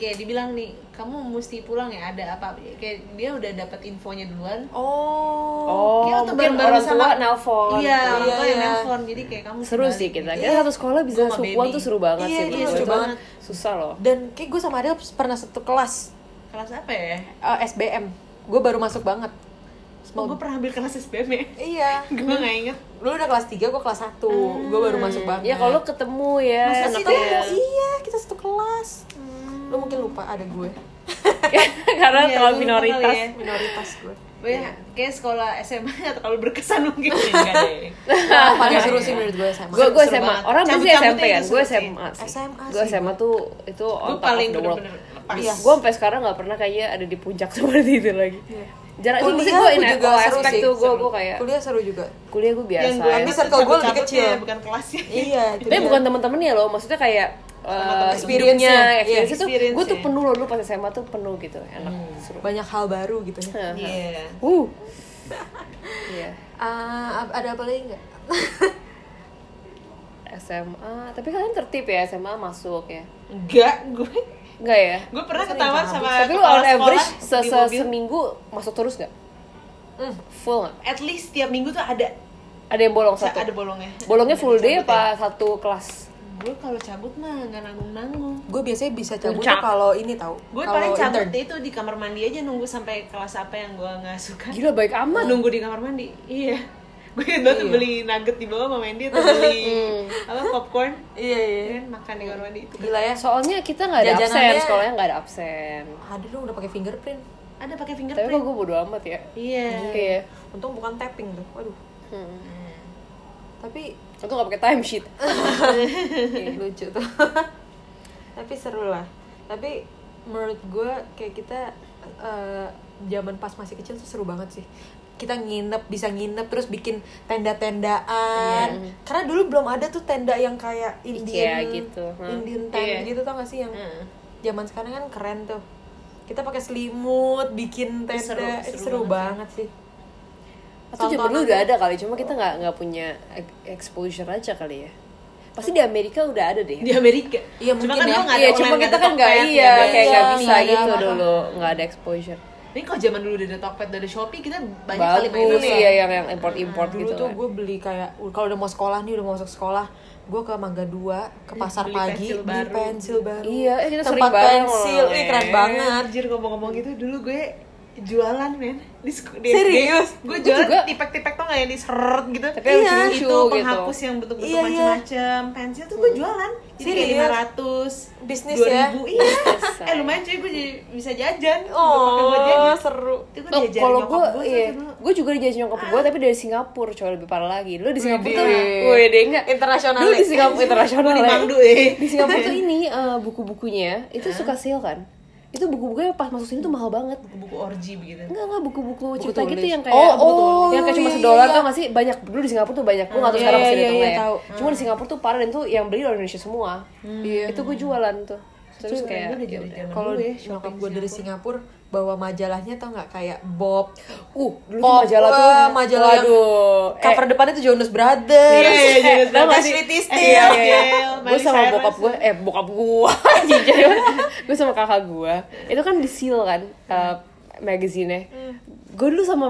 [SPEAKER 3] kayak dibilang nih kamu mesti pulang ya ada apa kayak dia udah dapat infonya duluan
[SPEAKER 1] Oh.
[SPEAKER 2] Oh,
[SPEAKER 3] Kayak waktu
[SPEAKER 2] mungkin
[SPEAKER 3] bareng-bareng
[SPEAKER 2] orang tua
[SPEAKER 3] sama-
[SPEAKER 2] nelpon.
[SPEAKER 3] iya orang
[SPEAKER 1] Iya,
[SPEAKER 3] tua yang
[SPEAKER 1] iya.
[SPEAKER 3] nelfon jadi kayak kamu
[SPEAKER 2] Seru
[SPEAKER 3] harus
[SPEAKER 2] sih
[SPEAKER 3] balik
[SPEAKER 2] kita.
[SPEAKER 3] gitu.
[SPEAKER 2] Kita satu sekolah bisa
[SPEAKER 3] Gua sama
[SPEAKER 2] sukuan
[SPEAKER 3] baby.
[SPEAKER 2] tuh seru banget
[SPEAKER 1] Iya,
[SPEAKER 2] sih.
[SPEAKER 1] itu
[SPEAKER 2] menurut
[SPEAKER 1] seru
[SPEAKER 2] gua. Itu
[SPEAKER 1] banget.
[SPEAKER 2] Susah loh.
[SPEAKER 1] Dan kayak gue sama Ariel pernah satu kelas
[SPEAKER 3] kelas apa ya
[SPEAKER 1] eh, SBM. Gue baru masuk banget.
[SPEAKER 3] oh, gue pernah ambil kelas SBM ya <laughs>
[SPEAKER 1] Iya.
[SPEAKER 3] gue nggak inget
[SPEAKER 1] Lu udah kelas 3, gue kelas 1. Gue baru masuk banget.
[SPEAKER 2] Ya kalau ketemu ya.
[SPEAKER 1] Masa sih
[SPEAKER 2] enak
[SPEAKER 1] dia?
[SPEAKER 2] ya.
[SPEAKER 1] Iya, kita satu kelas. Lu mungkin lupa ada gue.
[SPEAKER 2] Karena
[SPEAKER 3] Iya,
[SPEAKER 2] terlalu
[SPEAKER 3] lu
[SPEAKER 2] minoritas.
[SPEAKER 3] kali ya.
[SPEAKER 1] Minoritas gue.
[SPEAKER 3] Gue ya, kayak sekolah SMA <laughs> nggak terlalu berkesan mungkin
[SPEAKER 1] Iya,
[SPEAKER 3] enggak deh
[SPEAKER 1] Nah, paling seru sih menurut gue SMA.
[SPEAKER 2] Gue gue
[SPEAKER 3] Seru
[SPEAKER 2] SMA.
[SPEAKER 3] banget.
[SPEAKER 2] Orang pasti
[SPEAKER 3] Cabut-cabutnya
[SPEAKER 2] SMP kan.
[SPEAKER 3] itu
[SPEAKER 2] Gue
[SPEAKER 3] seru sih.
[SPEAKER 2] SMA sih.
[SPEAKER 1] SMA
[SPEAKER 2] Gue
[SPEAKER 1] sih.
[SPEAKER 2] SMA tuh itu
[SPEAKER 3] gue
[SPEAKER 2] on top
[SPEAKER 3] paling
[SPEAKER 2] of the world.
[SPEAKER 3] bener-bener lepas
[SPEAKER 1] Iya.
[SPEAKER 2] Gue sampai sekarang nggak pernah kayaknya ada di puncak seperti itu lagi. Jarang sih
[SPEAKER 1] Kuliah
[SPEAKER 2] gue in
[SPEAKER 1] juga
[SPEAKER 2] all
[SPEAKER 1] seru
[SPEAKER 2] aspect
[SPEAKER 1] sih,
[SPEAKER 2] tuh gue
[SPEAKER 1] seru.
[SPEAKER 2] gue kayak
[SPEAKER 1] Kuliah seru juga.
[SPEAKER 2] kuliah gue biasa. ya.
[SPEAKER 3] yang gue
[SPEAKER 1] Tapi
[SPEAKER 3] inget
[SPEAKER 1] circle
[SPEAKER 3] tuh
[SPEAKER 1] gue lebih
[SPEAKER 3] cabut-cabutnya,
[SPEAKER 1] kecil.
[SPEAKER 3] ya, bukan kelasnya
[SPEAKER 1] Iya, itu
[SPEAKER 2] Tapi
[SPEAKER 1] dia.
[SPEAKER 2] bukan temen-temennya loh, maksudnya kayak uh,
[SPEAKER 1] Experience-nya.
[SPEAKER 2] hidupnya,
[SPEAKER 1] Iya,
[SPEAKER 2] experience-nya tuh gue tuh
[SPEAKER 3] experience-nya.
[SPEAKER 2] penuh loh dulu pas SMA tuh penuh gitu enak seru.
[SPEAKER 1] banyak hal baru gitu ya.
[SPEAKER 2] Heeh.
[SPEAKER 3] iya
[SPEAKER 2] Uh. Iya.
[SPEAKER 1] Ah, ada apa lagi nggak?
[SPEAKER 2] SMA, tapi kalian tertib ya SMA masuk ya?
[SPEAKER 3] enggak gue
[SPEAKER 2] Enggak ya?
[SPEAKER 3] gue pernah ketahuan sama
[SPEAKER 2] Tapi lu
[SPEAKER 3] Eh, kepala
[SPEAKER 2] on average se
[SPEAKER 3] sekolah di
[SPEAKER 2] -se
[SPEAKER 3] mobil
[SPEAKER 2] seminggu masuk terus nggak?
[SPEAKER 1] Hmm.
[SPEAKER 2] Full nggak?
[SPEAKER 3] at least tiap minggu tuh ada
[SPEAKER 2] Ada yang bolong satu?
[SPEAKER 3] ada bolongnya
[SPEAKER 2] Bolongnya full day
[SPEAKER 3] Cabut ya.
[SPEAKER 2] apa satu kelas?
[SPEAKER 3] gue kalau cabut mah nggak nanggung nanggung
[SPEAKER 1] Gue biasanya bisa cabut tuh
[SPEAKER 2] Puncak.
[SPEAKER 1] kalau ini tahu.
[SPEAKER 3] gue
[SPEAKER 1] Kalau
[SPEAKER 3] paling cabut
[SPEAKER 1] intern.
[SPEAKER 3] itu di kamar mandi aja nunggu sampai kelas apa yang gue nggak suka
[SPEAKER 2] Gila baik amat.
[SPEAKER 3] nunggu di kamar mandi iya gue ingat
[SPEAKER 2] Iya.
[SPEAKER 3] banget tuh beli nugget di bawah sama Mandy atau
[SPEAKER 2] <laughs>
[SPEAKER 3] beli
[SPEAKER 2] Hmm.
[SPEAKER 3] apa popcorn
[SPEAKER 1] Iya iya.
[SPEAKER 3] kan makan di kamar mandi itu
[SPEAKER 1] Gila ya.
[SPEAKER 2] Soalnya kita nggak ada absen,
[SPEAKER 1] Jajanannya-
[SPEAKER 2] sekolahnya nggak ada absen.
[SPEAKER 1] Aduh dong udah pakai fingerprint.
[SPEAKER 3] ada pakai
[SPEAKER 2] Tapi kok
[SPEAKER 3] fingerprint
[SPEAKER 2] gue bodo amat ya?
[SPEAKER 3] iya
[SPEAKER 2] Iya. Hmm.
[SPEAKER 1] Untung bukan tapping tuh. Waduh. Tapi
[SPEAKER 2] Untung nggak pakai time sheet.
[SPEAKER 3] Eh,
[SPEAKER 1] lucu tuh. <laughs> Tapi seru lah. Tapi menurut gue kayak kita eh, zaman pas masih kecil tuh seru banget sih. Kita nginep, bisa nginep terus bikin tenda-tendaan. Karena dulu belum ada tuh tenda yang kayak Indian
[SPEAKER 2] gitu, huh?
[SPEAKER 1] Indian tent
[SPEAKER 3] Iya.
[SPEAKER 1] gitu tau gak sih yang zaman sekarang kan keren tuh kita pakai selimut bikin tenda
[SPEAKER 3] Seru-
[SPEAKER 1] seru,
[SPEAKER 3] seru
[SPEAKER 1] banget, sih
[SPEAKER 2] Atau zaman dulu udah ada kali, cuma kita nggak nggak punya e- exposure aja kali ya. pasti di Amerika udah ada deh
[SPEAKER 3] di Amerika
[SPEAKER 1] Iya,
[SPEAKER 3] cuma
[SPEAKER 1] mungkin ya.
[SPEAKER 3] kan dulu nggak ada
[SPEAKER 2] Iya, cuma
[SPEAKER 3] online,
[SPEAKER 2] kita kan
[SPEAKER 3] nggak
[SPEAKER 2] nggak
[SPEAKER 3] ada Tokped, ya
[SPEAKER 2] iya
[SPEAKER 3] nggak ada
[SPEAKER 2] kayak nggak
[SPEAKER 1] Iya,
[SPEAKER 2] bisa
[SPEAKER 1] nggak ada
[SPEAKER 2] gitu
[SPEAKER 1] apa-apa.
[SPEAKER 2] dulu, nggak ada exposure.
[SPEAKER 3] ini kalau zaman dulu udah ada Tokped udah ada Shopee kita banyak kali mainan
[SPEAKER 2] Bagus
[SPEAKER 3] ya.
[SPEAKER 2] ya yang yang import import
[SPEAKER 1] dulu
[SPEAKER 2] gitu.
[SPEAKER 1] tuh
[SPEAKER 2] kan.
[SPEAKER 1] gue beli kayak kalau udah mau sekolah nih udah mau masuk sekolah gue ke Mangga Dua ke pasar
[SPEAKER 3] beli
[SPEAKER 1] pagi beli
[SPEAKER 3] pensil baru.
[SPEAKER 1] pensil baru
[SPEAKER 2] Iya, eh, kita sering
[SPEAKER 1] tempat
[SPEAKER 2] bareng
[SPEAKER 1] pensil
[SPEAKER 2] loh.
[SPEAKER 1] ih keren
[SPEAKER 3] Eh,
[SPEAKER 1] banget
[SPEAKER 3] Anjir ngomong-ngomong gitu dulu gue jualan men di sek- di
[SPEAKER 1] Serius?
[SPEAKER 3] Gue
[SPEAKER 2] Gua
[SPEAKER 3] jualan
[SPEAKER 2] juga.
[SPEAKER 3] tipek-tipek tuh nggak yang diseret gitu.
[SPEAKER 2] Tapi yang
[SPEAKER 1] Iya.
[SPEAKER 2] lucu-lucu
[SPEAKER 3] itu
[SPEAKER 2] gitu.
[SPEAKER 3] penghapus yang bentuk-bentuk
[SPEAKER 1] Iya, iya.
[SPEAKER 3] macam-macam. Pensil tuh gue jualan. Jadi kayak
[SPEAKER 1] Serius?
[SPEAKER 3] 500,
[SPEAKER 1] Bisnis
[SPEAKER 3] 2000,
[SPEAKER 1] ya?
[SPEAKER 3] Iya.
[SPEAKER 2] Bisa.
[SPEAKER 3] eh lumayan cuy gue jadi bisa jajan. Gua pakai buat
[SPEAKER 1] oh
[SPEAKER 3] jajan.
[SPEAKER 1] seru
[SPEAKER 3] Itu gue
[SPEAKER 2] Oh,
[SPEAKER 3] diajarin
[SPEAKER 2] kalau
[SPEAKER 3] nyokap
[SPEAKER 2] gue,
[SPEAKER 3] gue
[SPEAKER 2] iya,
[SPEAKER 3] dulu.
[SPEAKER 2] gue juga dijajanin nyokap gue, tapi dari Singapura, coba lebih parah lagi. Lu di Singapura tuh,
[SPEAKER 1] Widih.
[SPEAKER 2] wede enggak?
[SPEAKER 1] Internasional.
[SPEAKER 2] Dulu di Singapura internasional.
[SPEAKER 3] Gua di
[SPEAKER 2] ya.
[SPEAKER 3] Mangdu, eh.
[SPEAKER 2] Di
[SPEAKER 3] <laughs>
[SPEAKER 2] Singapura tuh ini eh, buku-bukunya itu suka sale kan? Itu buku-bukunya pas masuk sini tuh mahal banget.
[SPEAKER 3] Buku orgy begitu.
[SPEAKER 2] Enggak lah
[SPEAKER 1] Buku
[SPEAKER 2] buku-buku cerita gitu
[SPEAKER 1] tulis.
[SPEAKER 2] yang kayak
[SPEAKER 1] Oh,
[SPEAKER 2] buku
[SPEAKER 1] oh,
[SPEAKER 2] tulis. yang kayak cuma
[SPEAKER 1] iya,
[SPEAKER 2] sedolar
[SPEAKER 1] iya.
[SPEAKER 2] tuh masih banyak dulu di Singapura tuh banyak gue nggak tahu
[SPEAKER 1] Iya,
[SPEAKER 2] sekarang masih
[SPEAKER 1] iya,
[SPEAKER 2] ada
[SPEAKER 1] iya,
[SPEAKER 2] atau nggak ya
[SPEAKER 1] tahu.
[SPEAKER 2] cuma di Singapura tuh parah dan tuh yang beli orang Indonesia semua
[SPEAKER 1] Iya.
[SPEAKER 2] itu gue jualan tuh terus
[SPEAKER 3] Cuy,
[SPEAKER 2] kayak
[SPEAKER 3] gue udah
[SPEAKER 2] ya
[SPEAKER 3] jadi
[SPEAKER 2] udah.
[SPEAKER 3] zaman
[SPEAKER 1] kalau
[SPEAKER 3] dulu ya,
[SPEAKER 1] nyokap
[SPEAKER 3] shopping
[SPEAKER 1] gue dari Singapura bawa majalahnya tau nggak kayak Bob
[SPEAKER 2] uh dulu tuh
[SPEAKER 1] Pop,
[SPEAKER 2] majalah tuh
[SPEAKER 1] eh, majalah yang Eh, iya,
[SPEAKER 2] waduh
[SPEAKER 1] cover depannya tuh Jonas Brothers
[SPEAKER 3] Iya, iya,
[SPEAKER 1] <laughs> Eh,
[SPEAKER 3] Jonas Brothers.
[SPEAKER 1] Ashley Tisdale.
[SPEAKER 3] Iya, iya.
[SPEAKER 2] gue
[SPEAKER 3] Miley
[SPEAKER 2] sama
[SPEAKER 3] Cyrus.
[SPEAKER 2] bokap gue eh bokap <laughs> gue gue sama kakak gue itu kan disil kan eh, magazine-nya
[SPEAKER 1] Hmm.
[SPEAKER 2] gue dulu sama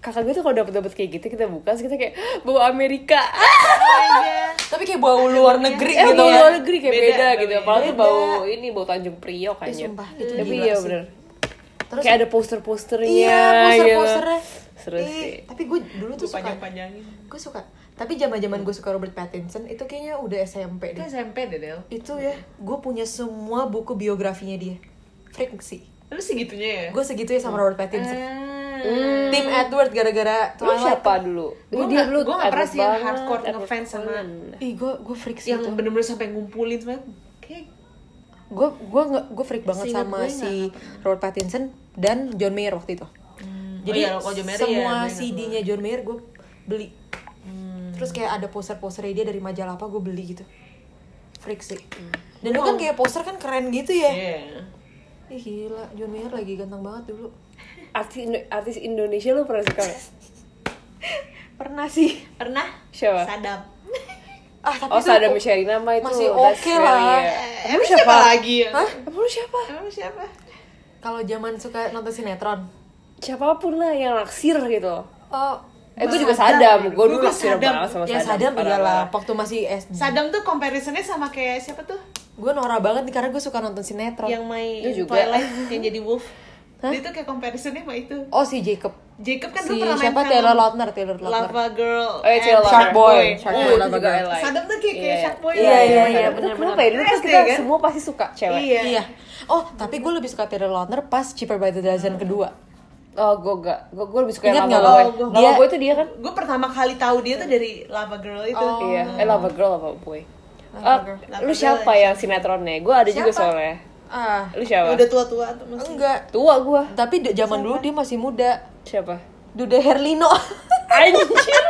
[SPEAKER 2] kakak gue tuh kalau dapet dapet kayak gitu kita buka terus kita kayak bawa Amerika
[SPEAKER 3] Iya.
[SPEAKER 1] tapi kayak bau luar negeri
[SPEAKER 2] eh
[SPEAKER 1] gitu
[SPEAKER 2] bau
[SPEAKER 1] ya
[SPEAKER 2] luar negeri kayak
[SPEAKER 3] Beda,
[SPEAKER 2] beda,
[SPEAKER 3] beda,
[SPEAKER 2] gitu
[SPEAKER 3] beda.
[SPEAKER 2] apalagi bau ini bau Tanjung Priok kan
[SPEAKER 1] Ih, sumpah, itu
[SPEAKER 2] tapi
[SPEAKER 1] gila
[SPEAKER 2] iya
[SPEAKER 1] sih.
[SPEAKER 2] bener
[SPEAKER 1] Terus-
[SPEAKER 2] kayak ada poster-posternya
[SPEAKER 1] iya
[SPEAKER 2] gitu.
[SPEAKER 1] poster-posternya
[SPEAKER 2] seru
[SPEAKER 1] Ih,
[SPEAKER 2] sih
[SPEAKER 1] tapi gue dulu tuh
[SPEAKER 3] Gue
[SPEAKER 1] suka
[SPEAKER 3] panjang-panjangin.
[SPEAKER 1] gue suka tapi zaman zaman gue suka Robert Pattinson itu kayaknya udah SMP
[SPEAKER 3] Itu
[SPEAKER 1] deh
[SPEAKER 3] SMP deh, Del.
[SPEAKER 1] itu ya gue punya semua buku biografinya dia friksi
[SPEAKER 3] Lu segitunya ya?
[SPEAKER 1] gue segitu ya sama Robert Pattinson
[SPEAKER 3] Hmm.
[SPEAKER 1] Tim Edward gara-gara
[SPEAKER 2] lu
[SPEAKER 1] Twilight
[SPEAKER 2] siapa dulu
[SPEAKER 3] Gua
[SPEAKER 2] Ih, dia
[SPEAKER 3] nggak-
[SPEAKER 2] dulu
[SPEAKER 3] gua nggak pernah
[SPEAKER 2] Edward
[SPEAKER 3] sih yang
[SPEAKER 2] banget,
[SPEAKER 3] hardcore
[SPEAKER 2] Edward
[SPEAKER 3] ngefans sama-
[SPEAKER 2] Cullen.
[SPEAKER 1] Ih, gue gue freak sih
[SPEAKER 3] yang
[SPEAKER 1] itu.
[SPEAKER 3] bener-bener sampai ngumpulin semuanya kayak
[SPEAKER 1] Gue gue nggak- gue freak banget
[SPEAKER 3] Seingat
[SPEAKER 1] sama
[SPEAKER 3] gue nggak
[SPEAKER 1] si Robert Pattinson dan John Mayer waktu itu.
[SPEAKER 2] Hmm, oh
[SPEAKER 1] Jadi
[SPEAKER 3] Oh iya, kalau John Mayer
[SPEAKER 2] ya,
[SPEAKER 1] semua
[SPEAKER 3] iya, seingat
[SPEAKER 1] CD-nya John Mayer gue beli.
[SPEAKER 2] Hmm,
[SPEAKER 1] Terus kayak ada poster-posternya dia dari majalah apa gue beli gitu. Freak sih. Dan lu kan kayak poster kan keren gitu
[SPEAKER 3] Eh,
[SPEAKER 1] ya.
[SPEAKER 2] iya.
[SPEAKER 3] yeah.
[SPEAKER 1] Ih gila, John Mayer lagi ganteng banget dulu.
[SPEAKER 2] artis Indo- artis Indonesia lu pernah suka nggak?
[SPEAKER 1] Pernah sih.
[SPEAKER 3] pernah
[SPEAKER 2] Siapa? <laughs>
[SPEAKER 3] sadap
[SPEAKER 1] Ah, tapi
[SPEAKER 2] oh
[SPEAKER 1] itu
[SPEAKER 2] Sada Sherina mah itu
[SPEAKER 1] masih
[SPEAKER 2] that's
[SPEAKER 1] oke
[SPEAKER 2] very,
[SPEAKER 1] lah.
[SPEAKER 2] ya.
[SPEAKER 3] emang siapa, lagi ya?
[SPEAKER 1] Hah?
[SPEAKER 2] Emang lu siapa?
[SPEAKER 3] emang siapa
[SPEAKER 2] Hmm.
[SPEAKER 1] Kalau zaman suka nonton sinetron.
[SPEAKER 2] Siapapun lah yang naksir gitu
[SPEAKER 1] Oh,
[SPEAKER 2] Eh gue juga
[SPEAKER 3] Sadam.
[SPEAKER 2] sadam, gue dulu
[SPEAKER 3] Gua
[SPEAKER 2] naksir
[SPEAKER 3] Sadam.
[SPEAKER 2] banget sama
[SPEAKER 1] ya sadam
[SPEAKER 2] parah-parah.
[SPEAKER 1] iyalah waktu masih SD.
[SPEAKER 3] sadam tuh comparisonnya sama kayak siapa tuh
[SPEAKER 1] gue norak banget nih karena gue suka nonton sinetron
[SPEAKER 3] yang main
[SPEAKER 2] Dia juga.
[SPEAKER 3] Twilight yang jadi wolf dia tuh kayak comparisonnya sama itu
[SPEAKER 1] oh si Jacob
[SPEAKER 3] Jacob kan
[SPEAKER 1] si
[SPEAKER 3] dulu pernah main
[SPEAKER 1] siapa
[SPEAKER 3] film
[SPEAKER 1] Taylor Lautner Taylor Lautner
[SPEAKER 3] Lava Girl
[SPEAKER 2] Oh iya,
[SPEAKER 3] and
[SPEAKER 2] Taylor
[SPEAKER 1] Shark
[SPEAKER 2] Lautner.
[SPEAKER 1] Boy.
[SPEAKER 2] Shark
[SPEAKER 1] Oh,
[SPEAKER 2] Boy
[SPEAKER 1] itu
[SPEAKER 2] itu juga
[SPEAKER 1] juga.
[SPEAKER 2] I like.
[SPEAKER 3] Sadam tuh kayak- kayak
[SPEAKER 2] Iya,
[SPEAKER 3] Shark Boy
[SPEAKER 2] Iya
[SPEAKER 1] lah.
[SPEAKER 2] iya
[SPEAKER 1] Iya,
[SPEAKER 2] iya.
[SPEAKER 3] bener,
[SPEAKER 2] Bener, Kenapa ya dulu kan
[SPEAKER 3] SD,
[SPEAKER 2] kita
[SPEAKER 3] kan?
[SPEAKER 2] semua pasti suka cewek.
[SPEAKER 3] Iya.
[SPEAKER 1] iya oh tapi gue lebih suka Taylor Lautner pas Cheaper by the Dozen kedua
[SPEAKER 2] Oh gue gak, gue, gue lebih suka
[SPEAKER 1] Ingat
[SPEAKER 2] yang
[SPEAKER 1] nggak
[SPEAKER 2] lama
[SPEAKER 3] Oh,
[SPEAKER 1] lo?
[SPEAKER 2] boy.
[SPEAKER 1] Dia-
[SPEAKER 2] Lama boy itu dia kan?
[SPEAKER 3] gue pertama kali tahu dia tuh dari Lava Girl itu
[SPEAKER 2] Iya. Eh lama girl lama boy. Ah,
[SPEAKER 1] Oh. girl.
[SPEAKER 2] lu
[SPEAKER 3] Lava
[SPEAKER 2] siapa
[SPEAKER 3] girl.
[SPEAKER 2] yang sinetronnya? Gue ada juga
[SPEAKER 1] Siapa?
[SPEAKER 2] soalnya.
[SPEAKER 1] ah
[SPEAKER 2] Lu siapa?
[SPEAKER 3] udah tua-tua tuh masih
[SPEAKER 1] enggak
[SPEAKER 2] tua gue.
[SPEAKER 1] tapi d- zaman dulu dia masih muda
[SPEAKER 2] Siapa?
[SPEAKER 1] Dude Herlino
[SPEAKER 2] Anjir.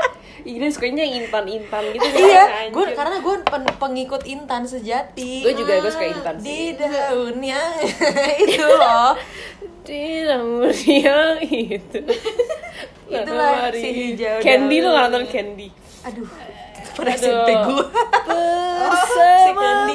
[SPEAKER 2] Ini sukanya yang intan-intan gitu.
[SPEAKER 1] <laughs> iya gue karena gue pen- pengikut Intan sejati
[SPEAKER 2] Gue juga gue suka intan sih.
[SPEAKER 1] di daun yang <laughs> itu loh
[SPEAKER 2] Di namun yang itu.
[SPEAKER 1] <laughs> Itulah si hijau
[SPEAKER 2] gitu. Candy lu
[SPEAKER 1] daun.
[SPEAKER 2] nggak nonton Candy.
[SPEAKER 1] aduh pernah SMP gue
[SPEAKER 2] Bersama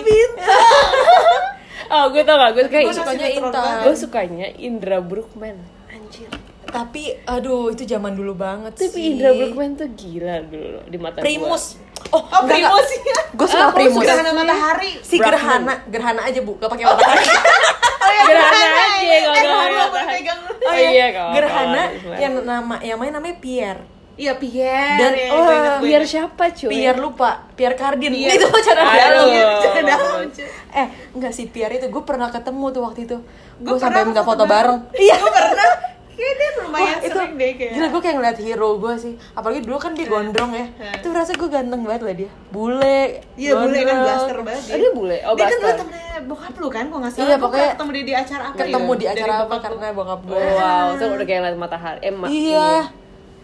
[SPEAKER 2] Oh gue tau gak, gue suka
[SPEAKER 1] gue sukanya Intan
[SPEAKER 2] Gue sukanya Indra Brookman Anjir
[SPEAKER 1] tapi aduh itu zaman dulu banget
[SPEAKER 2] Tapi
[SPEAKER 1] sih
[SPEAKER 2] Indra Brookman tuh gila dulu di mata gua. Ah,
[SPEAKER 1] Primus oh,
[SPEAKER 3] oh Primus <laughs> ya
[SPEAKER 1] gue suka
[SPEAKER 2] kamu
[SPEAKER 1] Primus
[SPEAKER 3] gerhana matahari
[SPEAKER 1] si gerhana gerhana aja bu gak pakai matahari
[SPEAKER 3] oh iya
[SPEAKER 2] Gerhana aja
[SPEAKER 3] ya.
[SPEAKER 2] kalau
[SPEAKER 3] Eh,
[SPEAKER 2] nggak
[SPEAKER 3] gerhana
[SPEAKER 2] ada
[SPEAKER 3] boleh
[SPEAKER 2] matahari.
[SPEAKER 3] pegang lu.
[SPEAKER 2] <laughs> Oh iya kalau
[SPEAKER 1] gerhana
[SPEAKER 2] kalau-
[SPEAKER 1] yang nama yang main namanya Pierre
[SPEAKER 3] Iya Pierre.
[SPEAKER 1] Dan,
[SPEAKER 3] ya,
[SPEAKER 1] oh,
[SPEAKER 3] gue ingat, gue
[SPEAKER 2] Biar
[SPEAKER 3] ingat.
[SPEAKER 2] siapa cuy Iya.
[SPEAKER 1] Pierre lupa Pierre Cardin
[SPEAKER 3] Pierre.
[SPEAKER 1] itu pacar
[SPEAKER 2] Aduh.
[SPEAKER 3] <laughs>
[SPEAKER 1] dalam
[SPEAKER 3] Iya, dalam, cuy.
[SPEAKER 1] eh enggak si Pierre itu gue pernah ketemu tuh waktu itu gue
[SPEAKER 3] Gua
[SPEAKER 1] sampai
[SPEAKER 3] pernah
[SPEAKER 1] minta
[SPEAKER 3] foto
[SPEAKER 1] foto bareng
[SPEAKER 3] Iya. Gue pernah. Kayaknya dia lumayan
[SPEAKER 1] Wah, itu
[SPEAKER 3] sering deh kayak.
[SPEAKER 1] gila gue kayak ngeliat hero gue sih apalagi dulu kan dia gondrong ya
[SPEAKER 3] Hmm.
[SPEAKER 1] itu rasa gue ganteng banget lah dia bule
[SPEAKER 3] Iya bule kan
[SPEAKER 1] gondrong.
[SPEAKER 3] blaster banget.
[SPEAKER 2] Oh, dia bule? Oh,
[SPEAKER 3] Dia
[SPEAKER 2] blaster.
[SPEAKER 3] kan dulu temennya bokap lu kan, kok nggak salah.
[SPEAKER 1] Iya,
[SPEAKER 3] Gua
[SPEAKER 1] pokoknya
[SPEAKER 3] pernah ketemu dia di acara apa?
[SPEAKER 1] ketemu
[SPEAKER 3] gitu,
[SPEAKER 1] di
[SPEAKER 3] dari
[SPEAKER 1] acara apa
[SPEAKER 3] bokap Iya. lu.
[SPEAKER 1] karena bokap gue
[SPEAKER 2] Wow, tuh udah kayak ngeliat matahari Eh, ma-
[SPEAKER 1] Iya.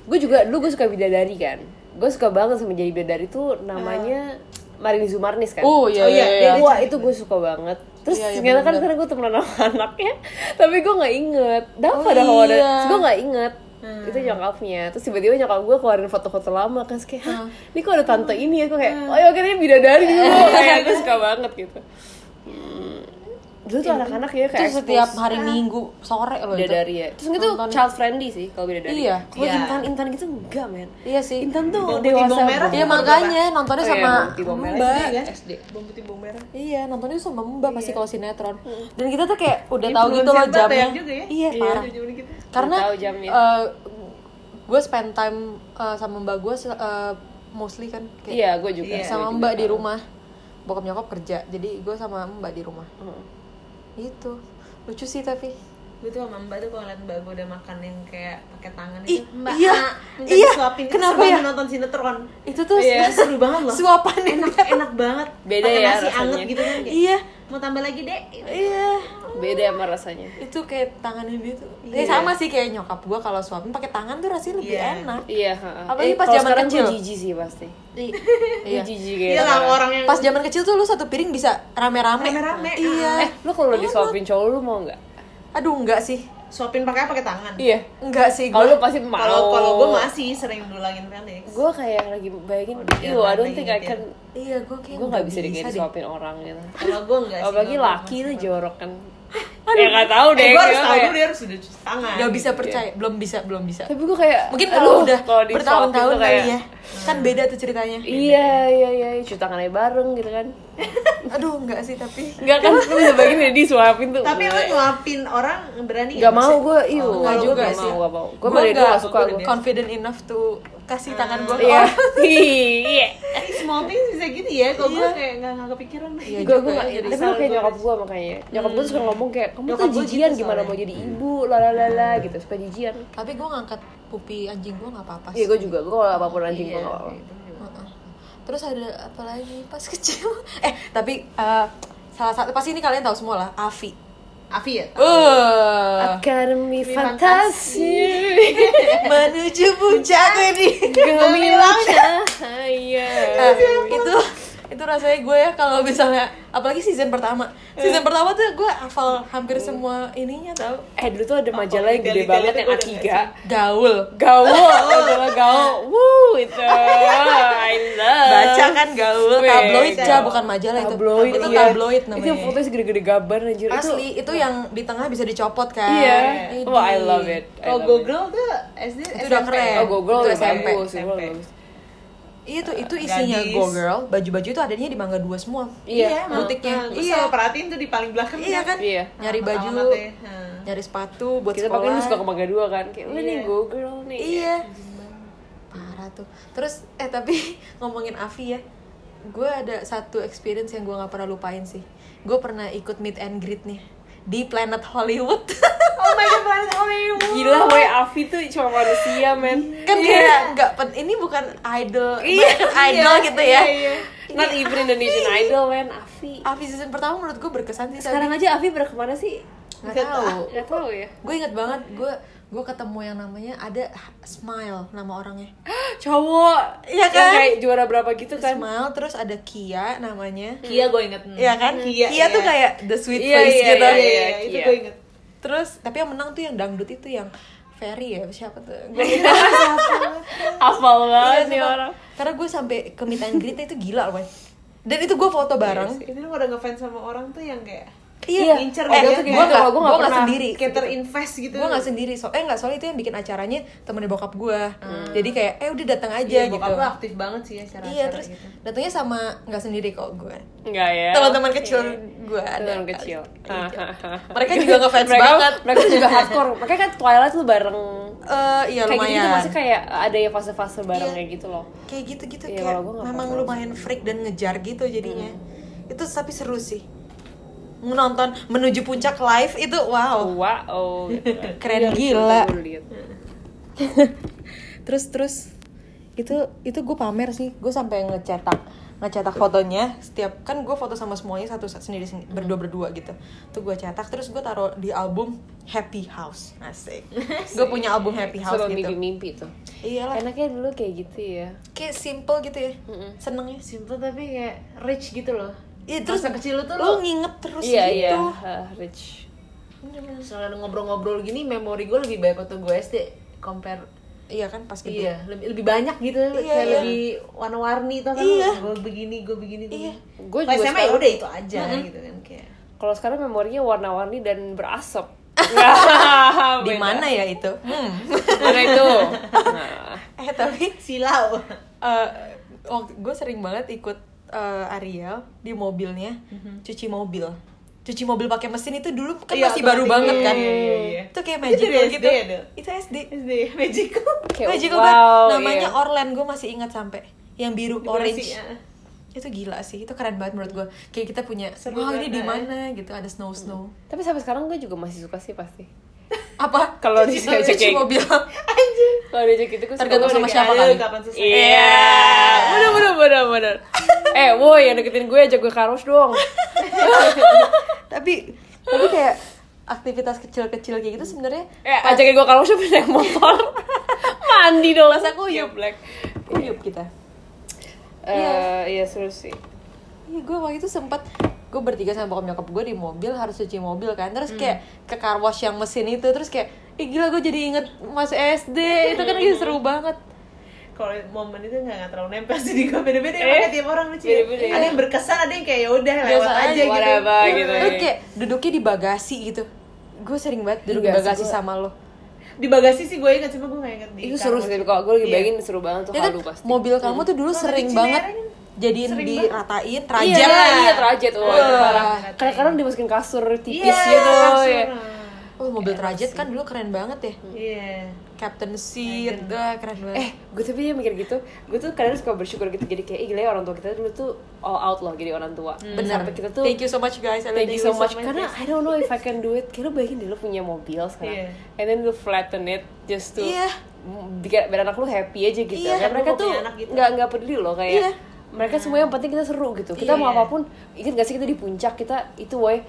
[SPEAKER 2] Gue juga, dulu gue suka bidadari kan Gue suka banget sama jadi bidadari tuh namanya Marini Zumarnis kan
[SPEAKER 1] Oh iya,
[SPEAKER 3] Oh, iya,
[SPEAKER 1] iya,
[SPEAKER 2] Iya,
[SPEAKER 1] iya.
[SPEAKER 2] Wah itu gue suka banget. Terus
[SPEAKER 1] Iya, iya,
[SPEAKER 2] ternyata kan
[SPEAKER 1] bener-bener.
[SPEAKER 2] <laughs> karena gue temenan sama anaknya, tapi gue nggak inget. Dapat
[SPEAKER 1] Oh,
[SPEAKER 2] dah kalau ada,
[SPEAKER 1] iya. Hmm.
[SPEAKER 2] gue nggak inget. itu nyokapnya terus tiba-tiba nyokap gue keluarin foto-foto lama kan Terus kayak "Hah,
[SPEAKER 1] Hmm.
[SPEAKER 2] ini kok ada tante ini ya gue kayak oh ya oke ini bidadari
[SPEAKER 1] Iya.
[SPEAKER 2] gue <laughs> kayak gue suka banget gitu Hmm. dulu tuh anak-anak ya kayak
[SPEAKER 1] Itu Iya. setiap
[SPEAKER 2] expose
[SPEAKER 1] hari Minggu sore loh itu.
[SPEAKER 2] bidadari ya terus itu
[SPEAKER 1] Nonton.
[SPEAKER 2] child friendly sih kalau bidadari
[SPEAKER 1] Iya.
[SPEAKER 2] kalau
[SPEAKER 3] Iya.
[SPEAKER 2] intan intan gitu enggak men
[SPEAKER 1] Iya sih.
[SPEAKER 2] intan tuh
[SPEAKER 3] Bawang putih,
[SPEAKER 2] dewasa
[SPEAKER 3] bawang merah.
[SPEAKER 1] Iya
[SPEAKER 2] banget.
[SPEAKER 1] makanya nontonnya
[SPEAKER 2] Oh iya,
[SPEAKER 1] sama
[SPEAKER 2] bawang putih, bawang merah.
[SPEAKER 1] Mbak.
[SPEAKER 3] SD kan? SD bawang putih bawang merah
[SPEAKER 1] Iya, nontonnya tuh sama Mbak pasti kalau sinetron. Dan kita tuh kayak udah tahu gitu
[SPEAKER 3] Iya. Hmm. Influencer
[SPEAKER 1] loh
[SPEAKER 3] banget ya
[SPEAKER 1] jamnya.
[SPEAKER 3] juga ya.
[SPEAKER 1] Iya, parah.
[SPEAKER 3] Zaman kita.
[SPEAKER 1] Karena
[SPEAKER 2] Udah tahu
[SPEAKER 3] ya.
[SPEAKER 2] jamnya.
[SPEAKER 1] gue spend time eh, sama Mbak gue mostly kan kayak
[SPEAKER 2] iya gue juga
[SPEAKER 3] Iya,
[SPEAKER 1] sama Mbak di rumah. Bokap nyokap kerja, jadi gue sama Mbak di rumah.
[SPEAKER 3] Hmm.
[SPEAKER 1] Itu lucu sih tapi.
[SPEAKER 3] gue tuh sama mbak tuh kalau ngeliat mbak gue udah makan yang kayak pakai tangan
[SPEAKER 1] Ih,
[SPEAKER 3] itu mbak
[SPEAKER 1] iya,
[SPEAKER 3] ah, minta
[SPEAKER 1] iya.
[SPEAKER 3] disuapin Itu
[SPEAKER 1] Kenapa
[SPEAKER 3] seru
[SPEAKER 1] ya?
[SPEAKER 3] banget nonton sinetron
[SPEAKER 1] Itu tuh
[SPEAKER 3] Iya,
[SPEAKER 1] <laughs>
[SPEAKER 3] seru banget loh
[SPEAKER 1] suapan
[SPEAKER 3] enak enak banget
[SPEAKER 2] Beda
[SPEAKER 3] Pakai
[SPEAKER 2] ya
[SPEAKER 3] nasi
[SPEAKER 2] rasanya.
[SPEAKER 3] anget gitu kan kayak,
[SPEAKER 1] <laughs> Iya,
[SPEAKER 3] mau tambah lagi deh
[SPEAKER 1] iya.
[SPEAKER 2] beda sama rasanya
[SPEAKER 1] Itu kayak tangannya dia tuh. Eh,
[SPEAKER 3] Iya.
[SPEAKER 1] sama sih kayak nyokap gue kalau suapin pakai tangan tuh rasanya lebih
[SPEAKER 3] Iya.
[SPEAKER 1] enak.
[SPEAKER 2] iya heeh.
[SPEAKER 1] Apalagi pas
[SPEAKER 2] kalau
[SPEAKER 1] zaman
[SPEAKER 2] sekarang
[SPEAKER 1] kecil.
[SPEAKER 2] gue jijik sih pasti <laughs>
[SPEAKER 1] Iya.
[SPEAKER 2] gue jijik kayak
[SPEAKER 3] iya lah
[SPEAKER 2] sekarang.
[SPEAKER 3] orang yang
[SPEAKER 1] Pas zaman kecil tuh lu satu piring bisa rame-rame.
[SPEAKER 3] Rame-rame,
[SPEAKER 1] Iya.
[SPEAKER 2] eh lu kalau disuapin cowok lu mau nggak
[SPEAKER 1] Aduh enggak sih.
[SPEAKER 3] suapin pakai pakai tangan
[SPEAKER 2] iya
[SPEAKER 1] Enggak sih
[SPEAKER 2] kalau lu
[SPEAKER 1] gua.
[SPEAKER 2] pasti mau
[SPEAKER 3] kalau kalau gue masih sering dulangin Felix
[SPEAKER 2] gue kayak lagi bayangin
[SPEAKER 3] Oh, dia
[SPEAKER 2] Ew, I don't
[SPEAKER 3] rame
[SPEAKER 2] think I
[SPEAKER 3] gitu.
[SPEAKER 2] can
[SPEAKER 1] Iya, gua kayak
[SPEAKER 2] gue nggak bisa deh kayak disuapin orang gitu
[SPEAKER 3] kalau gue enggak sih
[SPEAKER 2] apalagi
[SPEAKER 3] kalau gua
[SPEAKER 2] laki
[SPEAKER 3] masih
[SPEAKER 2] tuh
[SPEAKER 3] suka.
[SPEAKER 2] jorok kan ya nggak tahu deh
[SPEAKER 3] eh, gue
[SPEAKER 2] gua
[SPEAKER 3] harus tahu
[SPEAKER 2] kayak-
[SPEAKER 3] dulu dia harus udah cuci tangan
[SPEAKER 1] Enggak bisa percaya, belum bisa, belum bisa.
[SPEAKER 2] tapi gue kayak
[SPEAKER 1] Mungkin kalau
[SPEAKER 2] Gitu. aduh,
[SPEAKER 1] udah
[SPEAKER 2] kalau disuapin
[SPEAKER 1] bertahun-tahun
[SPEAKER 2] tuh
[SPEAKER 1] kali ya. Kan beda tuh ceritanya.
[SPEAKER 2] iya iya iya iya, cuci tangannya bareng gitu kan
[SPEAKER 1] <laughs> Aduh, enggak sih tapi
[SPEAKER 2] nggak kan lu bisa bayangin dia disuapin tuh
[SPEAKER 3] tapi
[SPEAKER 2] gue-
[SPEAKER 3] lu nyuapin orang berani
[SPEAKER 2] nggak mau iya,
[SPEAKER 3] Maksudnya-
[SPEAKER 2] gue iyo
[SPEAKER 1] Oh, nggak juga
[SPEAKER 2] nggak
[SPEAKER 1] sih.
[SPEAKER 2] mau nggak mau gue
[SPEAKER 1] Gua
[SPEAKER 2] dari dulu
[SPEAKER 1] nggak-
[SPEAKER 2] nggak suka
[SPEAKER 1] gua
[SPEAKER 2] gue
[SPEAKER 1] Confident enough tuh kasih tangan gua ke
[SPEAKER 2] iya
[SPEAKER 1] orang.
[SPEAKER 2] <laughs> iya
[SPEAKER 3] Tapi small things bisa gitu ya kalau gue kayak nggak nggak kepikiran
[SPEAKER 1] Iya.
[SPEAKER 2] gue
[SPEAKER 1] juga
[SPEAKER 2] gue
[SPEAKER 1] ya, jadi
[SPEAKER 2] tapi lu kayak
[SPEAKER 3] salah
[SPEAKER 2] nyokap gue makanya nyokap gue suka ngomong kayak kamu
[SPEAKER 3] Nyokap
[SPEAKER 2] tuh
[SPEAKER 3] gua
[SPEAKER 2] jijian
[SPEAKER 3] gitu
[SPEAKER 2] gimana
[SPEAKER 3] soalnya.
[SPEAKER 2] mau jadi ibu lalalala gitu suka jijian
[SPEAKER 1] Tapi gua ngangkat pupi anjing gua enggak apa-apa
[SPEAKER 2] iya
[SPEAKER 1] sih.
[SPEAKER 2] gue juga gue kalau apapun anjing gue
[SPEAKER 3] Iya,
[SPEAKER 2] nggak apa-apa
[SPEAKER 1] Heeh. Terus ada apa lagi pas kecil? <laughs> Eh, tapi eh, salah satu pasti ini kalian tahu semua lah, Afi.
[SPEAKER 3] Afi ya
[SPEAKER 1] Oh, Eh,
[SPEAKER 2] Akademi Fantasi
[SPEAKER 1] <laughs>
[SPEAKER 2] <laughs>
[SPEAKER 1] menuju puncak ini.
[SPEAKER 2] Gemilang cahaya
[SPEAKER 1] Eh, itu itu rasanya gue ya kalau misalnya apalagi season pertama season pertama tuh gue hafal hampir semua ininya tau
[SPEAKER 2] Eh dulu tuh ada majalah yang gede
[SPEAKER 3] detail-detail
[SPEAKER 2] banget
[SPEAKER 3] itu
[SPEAKER 2] yang
[SPEAKER 3] gua udah
[SPEAKER 2] A3
[SPEAKER 1] gaul
[SPEAKER 2] Gaul, majalah gaul Wuh itu I love
[SPEAKER 1] baca kan gaul
[SPEAKER 2] Weh,
[SPEAKER 1] tabloid ja
[SPEAKER 2] gaul.
[SPEAKER 1] bukan majalah itu
[SPEAKER 2] Tabloid,
[SPEAKER 1] itu
[SPEAKER 2] iya.
[SPEAKER 1] tabloid
[SPEAKER 2] Itu
[SPEAKER 1] namanya
[SPEAKER 2] yang fotonya segede-gede gabar anjir Itu-
[SPEAKER 1] asli itu yang di tengah bisa dicopot kan
[SPEAKER 2] Iya
[SPEAKER 1] Ini.
[SPEAKER 2] Oh I love it I
[SPEAKER 3] kalau
[SPEAKER 2] love
[SPEAKER 3] gue
[SPEAKER 2] it.
[SPEAKER 3] girl tuh SD
[SPEAKER 1] Itu udah
[SPEAKER 3] SMP.
[SPEAKER 1] keren.
[SPEAKER 2] Oh go girl
[SPEAKER 1] Iya. Itu
[SPEAKER 2] udah
[SPEAKER 1] SMP.
[SPEAKER 2] bagus Go Girl
[SPEAKER 3] SMP.
[SPEAKER 2] bagus.
[SPEAKER 1] itu itu isinya
[SPEAKER 3] Gadis.
[SPEAKER 1] go girl baju-baju itu adanya di Mangga Dua semua
[SPEAKER 2] Iya.
[SPEAKER 3] emang.
[SPEAKER 1] Butiknya.
[SPEAKER 3] Nah, gua
[SPEAKER 1] Iya.
[SPEAKER 3] selalu perhatiin tuh di paling belakang
[SPEAKER 1] iya kan
[SPEAKER 2] Iya.
[SPEAKER 1] nyari baju
[SPEAKER 2] ya,
[SPEAKER 3] Alamatnya, heeh.
[SPEAKER 1] nyari sepatu buat
[SPEAKER 2] Kita
[SPEAKER 1] sekolah
[SPEAKER 2] pakai lu suka ke Maga dua kan Kayak wah nih
[SPEAKER 3] Iya.
[SPEAKER 2] go girl nih
[SPEAKER 1] Iya. Parah tuh. Terus eh tapi <laughs> ngomongin Avi ya, gue ada satu experience yang gue nggak pernah lupain sih. Gue pernah ikut meet and greet nih di Planet Hollywood.
[SPEAKER 3] <laughs>
[SPEAKER 1] <laughs>
[SPEAKER 3] oh my god planet Hollywood
[SPEAKER 2] Gila weh Afi tuh cuma manusia men
[SPEAKER 1] kan kayak nggak pen- ini bukan idol, American <laughs> idol
[SPEAKER 2] iya,
[SPEAKER 1] gitu ya.
[SPEAKER 2] Not even Indonesian Idol men Afi
[SPEAKER 1] Avi season pertama menurut gue berkesan sih. Sekarang
[SPEAKER 2] Sekarang aja Afi pernah kemana sih?
[SPEAKER 1] nggak tahu.
[SPEAKER 2] Gak tau ya
[SPEAKER 1] Gue inget banget gue gue ketemu yang namanya ada Smile nama orangnya.
[SPEAKER 2] Cowok
[SPEAKER 1] Iya
[SPEAKER 2] Yang
[SPEAKER 1] kan?
[SPEAKER 2] kayak juara berapa gitu kan
[SPEAKER 1] Smile terus ada Kia namanya.
[SPEAKER 3] Kia gue inget
[SPEAKER 1] Iya kan? Kia,
[SPEAKER 3] Kia,
[SPEAKER 1] tuh
[SPEAKER 3] iya.
[SPEAKER 1] kayak the sweet
[SPEAKER 2] Iya,
[SPEAKER 1] face
[SPEAKER 2] iya,
[SPEAKER 1] gitu.
[SPEAKER 2] iya,
[SPEAKER 3] iya
[SPEAKER 2] Iya,
[SPEAKER 3] itu
[SPEAKER 2] Kia.
[SPEAKER 3] gue inget
[SPEAKER 1] Terus tapi yang menang tuh yang dangdut itu yang Ferry ya siapa tuh? Gua lupa.
[SPEAKER 2] Hafal
[SPEAKER 1] Iya,
[SPEAKER 2] banget nih
[SPEAKER 1] sumpah.
[SPEAKER 2] Iya, orang
[SPEAKER 1] Karena gue sampai ke meet and greet itu gila loh. Dan itu gue foto bareng.
[SPEAKER 3] ini Iya lu udah ngefans sama orang tuh yang kayak
[SPEAKER 1] Iya,
[SPEAKER 3] ngincer
[SPEAKER 1] eh, gue
[SPEAKER 3] gitu.
[SPEAKER 1] gak,
[SPEAKER 2] Kalau gua
[SPEAKER 1] gue
[SPEAKER 2] nggak
[SPEAKER 1] gak
[SPEAKER 2] pernah.
[SPEAKER 1] sendiri.
[SPEAKER 3] kayak terinvest gitu
[SPEAKER 1] Gue gak sendiri, so, eh gak soalnya itu yang bikin acaranya temennya bokap gue
[SPEAKER 2] Hmm.
[SPEAKER 1] Jadi kayak, eh udah datang aja
[SPEAKER 3] iya,
[SPEAKER 1] gitu
[SPEAKER 3] bokap lu aktif banget sih acara
[SPEAKER 1] Iya, terus
[SPEAKER 3] gitu.
[SPEAKER 1] datangnya sama gak sendiri kok gue
[SPEAKER 2] Enggak ya
[SPEAKER 1] Teman-teman kecil gue ada
[SPEAKER 2] Teman kecil
[SPEAKER 1] Mereka <laughs> juga ngefans
[SPEAKER 2] mereka,
[SPEAKER 1] banget
[SPEAKER 2] Mereka
[SPEAKER 1] <laughs>
[SPEAKER 2] juga hardcore Mereka kan Twilight lu bareng
[SPEAKER 1] Eh, Iya
[SPEAKER 2] Kayak gitu,
[SPEAKER 1] lumayan Iya.
[SPEAKER 2] gitu masih kayak ada ya fase-fase barengnya gitu loh
[SPEAKER 1] kayak gitu-gitu
[SPEAKER 2] Iya,
[SPEAKER 1] kayak
[SPEAKER 2] kalau gua nggak
[SPEAKER 1] memang
[SPEAKER 2] pernah
[SPEAKER 1] lumayan freak dan ngejar gitu jadinya itu tapi seru sih nonton menuju puncak live itu wow
[SPEAKER 2] Wah, oh
[SPEAKER 1] <laughs>
[SPEAKER 2] gitu kan.
[SPEAKER 1] Keren
[SPEAKER 2] Iya,
[SPEAKER 1] gila.
[SPEAKER 2] gua liat.
[SPEAKER 1] terus terus itu itu gue pamer sih gue sampai ngecetak ngecetak fotonya setiap kan gue foto sama semuanya satu sendiri sendiri berdua berdua gitu tuh gue cetak terus gue taruh di album Happy House <laughs> asik gue punya album Happy House
[SPEAKER 2] Suka
[SPEAKER 1] gitu
[SPEAKER 2] mimpi-mimpi tuh
[SPEAKER 1] iyalah
[SPEAKER 2] Enaknya dulu kayak gitu ya
[SPEAKER 1] kayak simple gitu ya senengnya
[SPEAKER 3] simple tapi kayak rich gitu loh
[SPEAKER 1] Iya terus
[SPEAKER 3] Masa kecil lu tuh
[SPEAKER 1] lo
[SPEAKER 3] lu-
[SPEAKER 1] nginget terus
[SPEAKER 2] Iya,
[SPEAKER 1] gitu
[SPEAKER 2] iya Ah, Rich
[SPEAKER 3] soalnya ngobrol-ngobrol gini memori gue lebih banyak waktu gue SD compare
[SPEAKER 1] Iya kan pas gede.
[SPEAKER 3] Iya, lebih, lebih banyak gitu, kayak
[SPEAKER 1] iya.
[SPEAKER 3] lebih warna-warni tuh kan.
[SPEAKER 1] Iya.
[SPEAKER 3] Gue begini, gue begini, gue
[SPEAKER 1] Iya.
[SPEAKER 2] Gua
[SPEAKER 3] Pas
[SPEAKER 2] juga
[SPEAKER 3] SMA ya
[SPEAKER 2] sekarang-
[SPEAKER 3] udah itu aja gitu kan kayak.
[SPEAKER 2] Kalau sekarang memorinya warna-warni dan berasap.
[SPEAKER 1] <laughs> Di
[SPEAKER 2] <laughs>
[SPEAKER 1] mana ya itu? Hmm.
[SPEAKER 2] Karena itu.
[SPEAKER 1] <laughs>
[SPEAKER 2] Nah,
[SPEAKER 1] Eh tapi
[SPEAKER 3] Silau.
[SPEAKER 1] gue sering banget ikut eh, Ariel di mobilnya cuci mobil. Cuci mobil pakai mesin itu dulu kan
[SPEAKER 3] Mhm. Iya,
[SPEAKER 1] masih baru
[SPEAKER 3] otomatis.
[SPEAKER 1] banget kan.
[SPEAKER 3] Iya, iya, iya.
[SPEAKER 1] Itu kayak
[SPEAKER 3] Itu
[SPEAKER 1] magical
[SPEAKER 3] dari SD
[SPEAKER 1] gitu.
[SPEAKER 3] ya, Del?
[SPEAKER 1] Itu SD.
[SPEAKER 3] SD magical.
[SPEAKER 2] kayak,
[SPEAKER 1] magical
[SPEAKER 2] wow,
[SPEAKER 1] banget. Namanya
[SPEAKER 2] iya.
[SPEAKER 1] Orlen gue masih ingat sampai yang biru
[SPEAKER 3] Dekorasi,
[SPEAKER 1] <laughs> orange.
[SPEAKER 3] ah.
[SPEAKER 1] Itu gila sih. Itu keren banget menurut gue. Kayak kita punya,
[SPEAKER 3] Seru
[SPEAKER 1] wow ini
[SPEAKER 3] banget,
[SPEAKER 1] di
[SPEAKER 3] eh.
[SPEAKER 1] mana gitu ada snow snow.
[SPEAKER 2] Tapi sampai sekarang gue juga masih suka sih pasti.
[SPEAKER 3] Hmm.
[SPEAKER 1] Apa?
[SPEAKER 2] Kalau
[SPEAKER 1] Cuci- cuci
[SPEAKER 2] diajak kayak-
[SPEAKER 3] <laughs>
[SPEAKER 1] mobil.
[SPEAKER 3] Anjir.
[SPEAKER 2] Kalau diajak gitu gue suka
[SPEAKER 1] Tergantung sama
[SPEAKER 2] banget.
[SPEAKER 1] siapa
[SPEAKER 3] Aduh,
[SPEAKER 1] kali.
[SPEAKER 3] Kapan selesai?
[SPEAKER 2] Iya. Bener bener bener bener. eh, woi yang deketin gue ajak gue karos dong.
[SPEAKER 1] tapi tapi kayak aktivitas kecil-kecil kayak gitu sebenarnya
[SPEAKER 2] Eh, ajakin gue karos dong naik motor. Mandi dong
[SPEAKER 1] Masa kuyup?
[SPEAKER 2] Ya, black.
[SPEAKER 1] kuyup kita.
[SPEAKER 2] Eh, iya seru sih.
[SPEAKER 1] Iya gue waktu itu sempat gue bertiga sama bokap nyokap gue di mobil harus cuci mobil kan terus
[SPEAKER 2] Hmm.
[SPEAKER 1] kayak ke car wash yang mesin itu terus kayak Ih gila gue jadi inget masuk SD itu kan gitu seru banget
[SPEAKER 3] Kalau momen itu nggak nggak terlalu nempel sih <laughs> di gue beda-beda ya,
[SPEAKER 2] Eh,
[SPEAKER 3] makanya tiap orang lucu. ya.
[SPEAKER 2] beda-beda ya.
[SPEAKER 3] Ada yang berkesan, ada yang kayak yaudah lewat
[SPEAKER 1] Biasa
[SPEAKER 3] aja,
[SPEAKER 1] aja,
[SPEAKER 3] gitu.
[SPEAKER 2] whatever, gitu.
[SPEAKER 1] Iya, Terus kayak duduknya di bagasi gitu gue sering banget duduk di
[SPEAKER 2] Iya sih,
[SPEAKER 1] bagasi
[SPEAKER 2] gua-
[SPEAKER 1] sama lo
[SPEAKER 3] Di bagasi sih gue ingat, cuma gue nggak ingat di.
[SPEAKER 2] Itu seru sih
[SPEAKER 3] kartu.
[SPEAKER 2] tapi kalau gue lagi
[SPEAKER 3] Iya.
[SPEAKER 2] bayangin seru banget tuh
[SPEAKER 1] ya kan
[SPEAKER 2] halu pasti.
[SPEAKER 1] mobil kamu tuh dulu
[SPEAKER 3] Kalau
[SPEAKER 1] sering
[SPEAKER 3] di
[SPEAKER 1] banget
[SPEAKER 3] Cinere
[SPEAKER 1] jadiin
[SPEAKER 3] sering banget.
[SPEAKER 1] diratain
[SPEAKER 2] Iya,
[SPEAKER 1] trajet lah
[SPEAKER 2] iya trajet. Wah, itu
[SPEAKER 1] Wah.
[SPEAKER 2] parah. Kadang-kadang dimasukin kasur tipis
[SPEAKER 3] Iya,
[SPEAKER 2] gitu.
[SPEAKER 3] langsung.
[SPEAKER 2] ya.
[SPEAKER 1] oh mobil trajet kan dulu keren banget ya
[SPEAKER 3] Iya.
[SPEAKER 1] Captain Seat wah keren banget
[SPEAKER 2] Eh, gue tapi dia mikir gitu, gue tuh kadang suka bersyukur gitu Jadi kayak, "Ih, gila ya orang tua kita dulu tuh all out loh jadi orang tua
[SPEAKER 1] benar
[SPEAKER 2] Sampai kita tuh,
[SPEAKER 1] thank you so much guys I love
[SPEAKER 2] thank you so much
[SPEAKER 3] much.
[SPEAKER 2] Karena I don't know
[SPEAKER 3] <laughs>
[SPEAKER 2] if I can do it Kayak lu bayangin deh lu punya mobil sekarang
[SPEAKER 3] Iya.
[SPEAKER 2] And then lu flatten it just to
[SPEAKER 1] Iya.
[SPEAKER 2] biar, biar anak lu happy aja gitu
[SPEAKER 1] Iya.
[SPEAKER 2] Kayak mereka
[SPEAKER 3] Lu mau
[SPEAKER 2] tuh
[SPEAKER 3] punya anak gitu.
[SPEAKER 2] nggak nggak peduli loh kayak
[SPEAKER 1] Iya.
[SPEAKER 2] mereka semua yang penting kita seru gitu kita
[SPEAKER 3] Iya.
[SPEAKER 2] mau apapun ingat gak sih kita di puncak kita itu woy eh,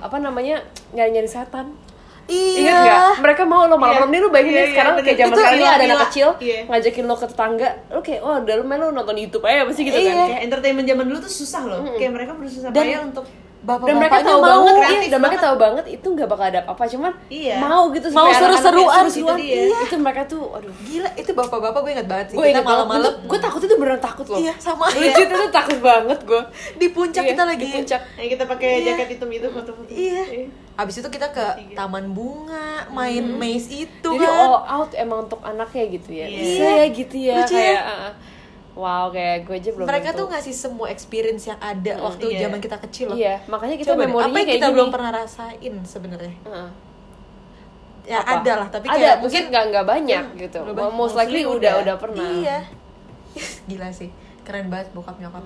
[SPEAKER 2] apa namanya nyari nyari setan
[SPEAKER 1] Iya.
[SPEAKER 2] Ingat gak? Mereka mau lo malam-malam
[SPEAKER 3] Iya.
[SPEAKER 2] nih lo bayangin
[SPEAKER 3] Iya,
[SPEAKER 2] deh
[SPEAKER 3] iya,
[SPEAKER 2] sekarang
[SPEAKER 3] bener.
[SPEAKER 2] kayak zaman
[SPEAKER 3] Itu
[SPEAKER 2] sekarang nih ada anak
[SPEAKER 3] gila-gila.
[SPEAKER 2] kecil
[SPEAKER 3] Iya.
[SPEAKER 2] ngajakin lo ke tetangga, lo kayak wah udah lumayan lo nonton YouTube aja pasti gitu kan.
[SPEAKER 1] Iya.
[SPEAKER 2] Kayak-
[SPEAKER 3] Entertainment zaman dulu tuh susah loh. Kayak mereka bersusah
[SPEAKER 1] Dan-
[SPEAKER 3] payah untuk
[SPEAKER 1] Bapak
[SPEAKER 2] Dan mereka
[SPEAKER 1] mau
[SPEAKER 2] tahu banget,
[SPEAKER 3] kreatif
[SPEAKER 2] iya, dan mereka
[SPEAKER 3] banget.
[SPEAKER 2] tahu banget itu nggak bakal ada apa-apa, cuman
[SPEAKER 3] Iya.
[SPEAKER 2] mau gitu
[SPEAKER 1] Mau
[SPEAKER 2] supaya anak-anak
[SPEAKER 1] seru-seruan,
[SPEAKER 2] kayak
[SPEAKER 3] gitu
[SPEAKER 2] seru-seruan.
[SPEAKER 3] dia.
[SPEAKER 2] Iya. Itu mereka tuh, aduh,
[SPEAKER 1] Gila, itu bapak-bapak gue inget banget sih.
[SPEAKER 2] gue
[SPEAKER 1] kita malam-malam
[SPEAKER 2] gue takut itu beneran takut loh.
[SPEAKER 1] Iya, sama.
[SPEAKER 2] Legit itu takut banget gue.
[SPEAKER 1] di puncak
[SPEAKER 2] Iya,
[SPEAKER 1] kita lagi.
[SPEAKER 2] di puncak.
[SPEAKER 3] yang kita pakai jaket hitam itu foto-foto.
[SPEAKER 1] Iya. Abis itu kita ke taman bunga, main maze itu
[SPEAKER 2] Hmm. Jadi oh,
[SPEAKER 1] kan.
[SPEAKER 2] all out emang untuk anaknya gitu ya.
[SPEAKER 3] Iya.
[SPEAKER 2] Bisa ya gitu ya.
[SPEAKER 1] Lucu ya?
[SPEAKER 2] kayak, uh, wow, kayak gue aja belum
[SPEAKER 1] mereka
[SPEAKER 2] tentu. Hmm,
[SPEAKER 1] tuh ngasih semua experience yang ada waktu
[SPEAKER 3] iya.
[SPEAKER 1] zaman kita kecil loh.
[SPEAKER 2] Iya, makanya kita
[SPEAKER 1] Coba deh,
[SPEAKER 2] memorinya
[SPEAKER 1] apa yang
[SPEAKER 2] kayak
[SPEAKER 1] kita
[SPEAKER 2] gini.
[SPEAKER 1] belum pernah rasain sebenarnya?
[SPEAKER 2] Heeh.
[SPEAKER 1] Ya
[SPEAKER 2] Apa?
[SPEAKER 1] ada lah, tapi
[SPEAKER 2] Ada,
[SPEAKER 1] kayak Iya,
[SPEAKER 2] mungkin nggak nggak banyak gitu.
[SPEAKER 1] nggak banyak.
[SPEAKER 2] Most likely udah
[SPEAKER 3] Mostly udah.
[SPEAKER 2] udah pernah.
[SPEAKER 1] Iya. <laughs> Gila sih. Keren banget bokap nyokap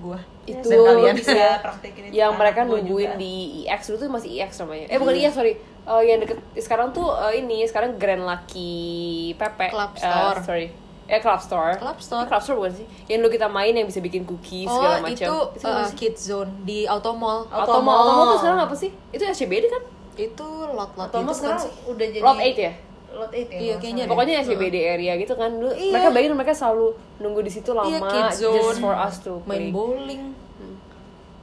[SPEAKER 1] gua.
[SPEAKER 2] Itu
[SPEAKER 1] Dan kalian.
[SPEAKER 3] bisa praktekin itu.
[SPEAKER 2] Iya.
[SPEAKER 1] Nah,
[SPEAKER 2] yang
[SPEAKER 3] ke
[SPEAKER 2] mereka
[SPEAKER 3] anak lo
[SPEAKER 2] nungguin
[SPEAKER 3] juga.
[SPEAKER 2] di IX dulu tuh masih IX namanya.
[SPEAKER 1] Iya.
[SPEAKER 2] Eh bukan IX sorry. Eh, yang deket sekarang tuh eh, ini sekarang Grand Lucky Pepe.
[SPEAKER 1] Club
[SPEAKER 2] Eh,
[SPEAKER 1] Store.
[SPEAKER 2] sorry. Eh Club Store.
[SPEAKER 1] Club Store.
[SPEAKER 2] Club Store bukan sih? Yang dulu kita main yang bisa bikin cookies segala
[SPEAKER 1] Oh,
[SPEAKER 2] macam.
[SPEAKER 1] itu, uh, kids zone di Auto Mall.
[SPEAKER 2] Auto Mall. Auto Mall tuh sekarang apa sih? Itu SCBD kan?
[SPEAKER 1] Itu lot-lot
[SPEAKER 3] Tomo
[SPEAKER 1] gitu kan
[SPEAKER 3] sekarang
[SPEAKER 1] sih.
[SPEAKER 3] udah jadi
[SPEAKER 2] Lot 8 ya?
[SPEAKER 3] Lot 8 ya.
[SPEAKER 1] Iya, kayaknya
[SPEAKER 3] masalah.
[SPEAKER 2] Pokoknya SCBD area gitu kan. Dulu
[SPEAKER 1] Iya.
[SPEAKER 2] mereka bayangin mereka selalu nunggu di situ lama
[SPEAKER 1] Iya, kids zone.
[SPEAKER 2] just for us to
[SPEAKER 1] main
[SPEAKER 2] play.
[SPEAKER 1] bowling,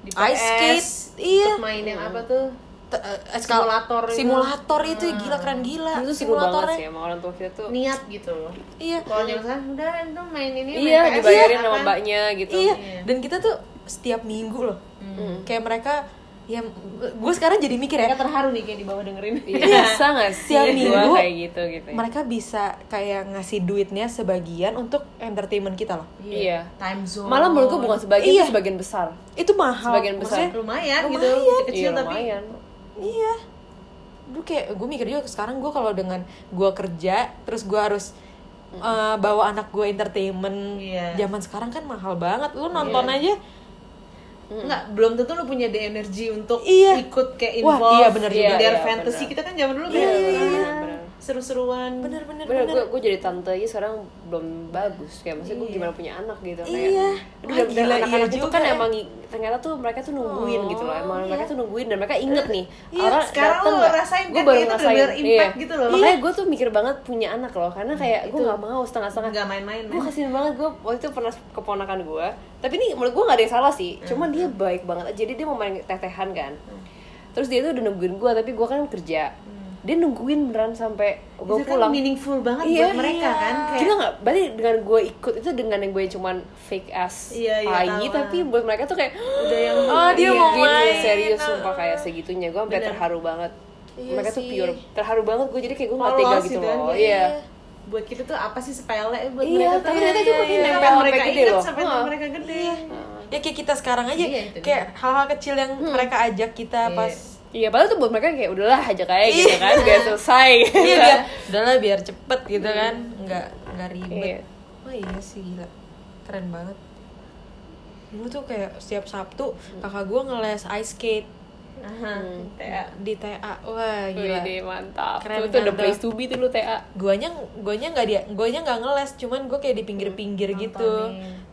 [SPEAKER 3] Di
[SPEAKER 1] ice
[SPEAKER 3] PS,
[SPEAKER 1] skate, iya.
[SPEAKER 3] terus main yang apa tuh?
[SPEAKER 1] T- eh, eskal-
[SPEAKER 3] Simulator itu.
[SPEAKER 1] simulator itu ya, gila keren gila.
[SPEAKER 2] Itu seru banget
[SPEAKER 1] Simulatornya.
[SPEAKER 2] sih sama orang tua kita tuh.
[SPEAKER 3] Niat gitu.
[SPEAKER 1] Iya.
[SPEAKER 3] Kalau yang sana udah entar main ini main PS,
[SPEAKER 2] Iya, dibayarin
[SPEAKER 3] apa?
[SPEAKER 2] sama mbaknya gitu.
[SPEAKER 1] kan? Iya, dan kita tuh setiap minggu loh. Kayak mereka ya gue sekarang jadi mikir ya,
[SPEAKER 3] Mereka terharu nih kayak di bawah dengerin. <laughs>
[SPEAKER 2] Iya, bisa gak sih
[SPEAKER 1] Tiap
[SPEAKER 2] gua
[SPEAKER 1] minggu,
[SPEAKER 2] kayak gitu gitu. ya?
[SPEAKER 1] mereka bisa kayak ngasih duitnya sebagian untuk entertainment kita loh.
[SPEAKER 2] Iya.
[SPEAKER 3] Time zone.
[SPEAKER 2] Malah menurut gua bukan sebagian,
[SPEAKER 1] Iya.
[SPEAKER 2] itu sebagian besar.
[SPEAKER 1] Itu mahal.
[SPEAKER 2] Sebagian besar.
[SPEAKER 1] Maksudnya,
[SPEAKER 3] lumayan, gitu,
[SPEAKER 1] Lumayan.
[SPEAKER 3] kecil
[SPEAKER 2] iya,
[SPEAKER 3] tapi
[SPEAKER 2] lumayan.
[SPEAKER 1] Iya. Dulu kayak gue mikir juga sekarang gue kalau dengan gue kerja terus gue harus eh, bawa anak gue entertainment.
[SPEAKER 3] Iya.
[SPEAKER 1] Zaman sekarang kan mahal banget. Lu nonton aja.
[SPEAKER 3] Enggak, belum tentu lu punya the energy untuk
[SPEAKER 1] Iya.
[SPEAKER 3] ikut kayak
[SPEAKER 1] Wah,
[SPEAKER 3] involve
[SPEAKER 1] iya, bener
[SPEAKER 3] in
[SPEAKER 2] juga.
[SPEAKER 3] their
[SPEAKER 2] Iya,
[SPEAKER 3] fantasy.
[SPEAKER 2] bener.
[SPEAKER 3] Kita kan zaman dulu
[SPEAKER 2] Iya,
[SPEAKER 3] kayak
[SPEAKER 2] benar,
[SPEAKER 3] ah,
[SPEAKER 2] benar.
[SPEAKER 3] seru-seruan.
[SPEAKER 1] Bener-bener.
[SPEAKER 2] Bener, gue gue jadi tante aja sekarang belum bagus kayak maksudnya gue gimana punya anak gitu kayak
[SPEAKER 1] Iya.
[SPEAKER 2] aduh
[SPEAKER 1] Wah,
[SPEAKER 2] dan- dan
[SPEAKER 1] gila,
[SPEAKER 2] anak-anak
[SPEAKER 1] iya
[SPEAKER 2] itu kan
[SPEAKER 1] juga ya.
[SPEAKER 2] emang i- ternyata tuh mereka tuh nungguin
[SPEAKER 1] Oh,
[SPEAKER 2] gitu loh emang
[SPEAKER 1] iya.
[SPEAKER 2] mereka tuh nungguin dan mereka inget nih
[SPEAKER 1] Iya,
[SPEAKER 2] orang
[SPEAKER 3] sekarang
[SPEAKER 2] dateng
[SPEAKER 3] lo
[SPEAKER 2] nggak?
[SPEAKER 3] rasain
[SPEAKER 2] Gua Iya.
[SPEAKER 3] kan, itu udah bener impact gitu loh.
[SPEAKER 2] makanya gue tuh mikir banget punya anak loh karena kayak gue nggak mau setengah-setengah
[SPEAKER 3] Enggak main-main.
[SPEAKER 2] gue kasihan banget gue waktu itu pernah keponakan gue tapi ini menurut gue gak ada yang salah sih
[SPEAKER 3] Hmm,
[SPEAKER 2] cuman dia baik banget jadi dia mau main tetehan kan terus dia tuh udah nungguin gue tapi gue kan kerja dia nungguin beneran sampai gue
[SPEAKER 3] itu
[SPEAKER 2] pulang
[SPEAKER 3] Hmm. kan meaningful banget
[SPEAKER 2] Iya,
[SPEAKER 3] buat mereka
[SPEAKER 1] iya.
[SPEAKER 3] kan kayak
[SPEAKER 2] Gila gak? Berarti dengan gue ikut itu dengan yang gue cuman fake ass
[SPEAKER 3] Iya, iya,
[SPEAKER 2] AI
[SPEAKER 3] tahu.
[SPEAKER 2] Tapi buat mereka tuh
[SPEAKER 3] <gasps>
[SPEAKER 2] kayak
[SPEAKER 3] udah yang Iya, gitu.
[SPEAKER 1] Oh, dia
[SPEAKER 2] "Ih,
[SPEAKER 1] mau
[SPEAKER 2] gini,
[SPEAKER 1] main."
[SPEAKER 2] serius sumpah kayak segitunya Gue sampai
[SPEAKER 3] Bener.
[SPEAKER 2] terharu banget
[SPEAKER 1] Iya
[SPEAKER 2] Mereka tuh
[SPEAKER 1] sih.
[SPEAKER 2] pure terharu banget Gue jadi kayak gue gak
[SPEAKER 3] Polos
[SPEAKER 2] tega gitu
[SPEAKER 3] gitu kan,
[SPEAKER 2] loh
[SPEAKER 3] iya,
[SPEAKER 2] Iya
[SPEAKER 3] buat kita tuh apa sih sepele buat
[SPEAKER 2] Iya,
[SPEAKER 3] mereka
[SPEAKER 2] tapi ternyata juga
[SPEAKER 3] makin
[SPEAKER 2] makin
[SPEAKER 3] nempel
[SPEAKER 2] nempel
[SPEAKER 3] mereka
[SPEAKER 2] sampai gede
[SPEAKER 3] ingat
[SPEAKER 2] loh.
[SPEAKER 3] sampai
[SPEAKER 2] Heeh.
[SPEAKER 3] mereka gede
[SPEAKER 1] ya kayak kita sekarang aja
[SPEAKER 3] Iya, itu dia.
[SPEAKER 1] kayak hal-hal kecil yang mereka ajak kita pas
[SPEAKER 2] Iya padahal tuh buat mereka kayak udahlah aja kayak gitu kan Biar selesai
[SPEAKER 1] <laughs> iya biar udahlah biar cepet gitu kan nggak nggak
[SPEAKER 2] Iya.
[SPEAKER 1] ribet oh iya sih gila keren banget dulu tuh kayak setiap sabtu kakak gue ngeles ice skate
[SPEAKER 3] Aha, kayak
[SPEAKER 1] di TA wah gila
[SPEAKER 2] Wih mantap
[SPEAKER 1] Keren
[SPEAKER 2] Tuh tuh
[SPEAKER 1] kan,
[SPEAKER 2] the place
[SPEAKER 1] tuh.
[SPEAKER 2] to be tuh lu TA
[SPEAKER 1] guanya guanya nggak dia guanya nggak ngeles cuman gue kayak di pinggir-pinggir gitu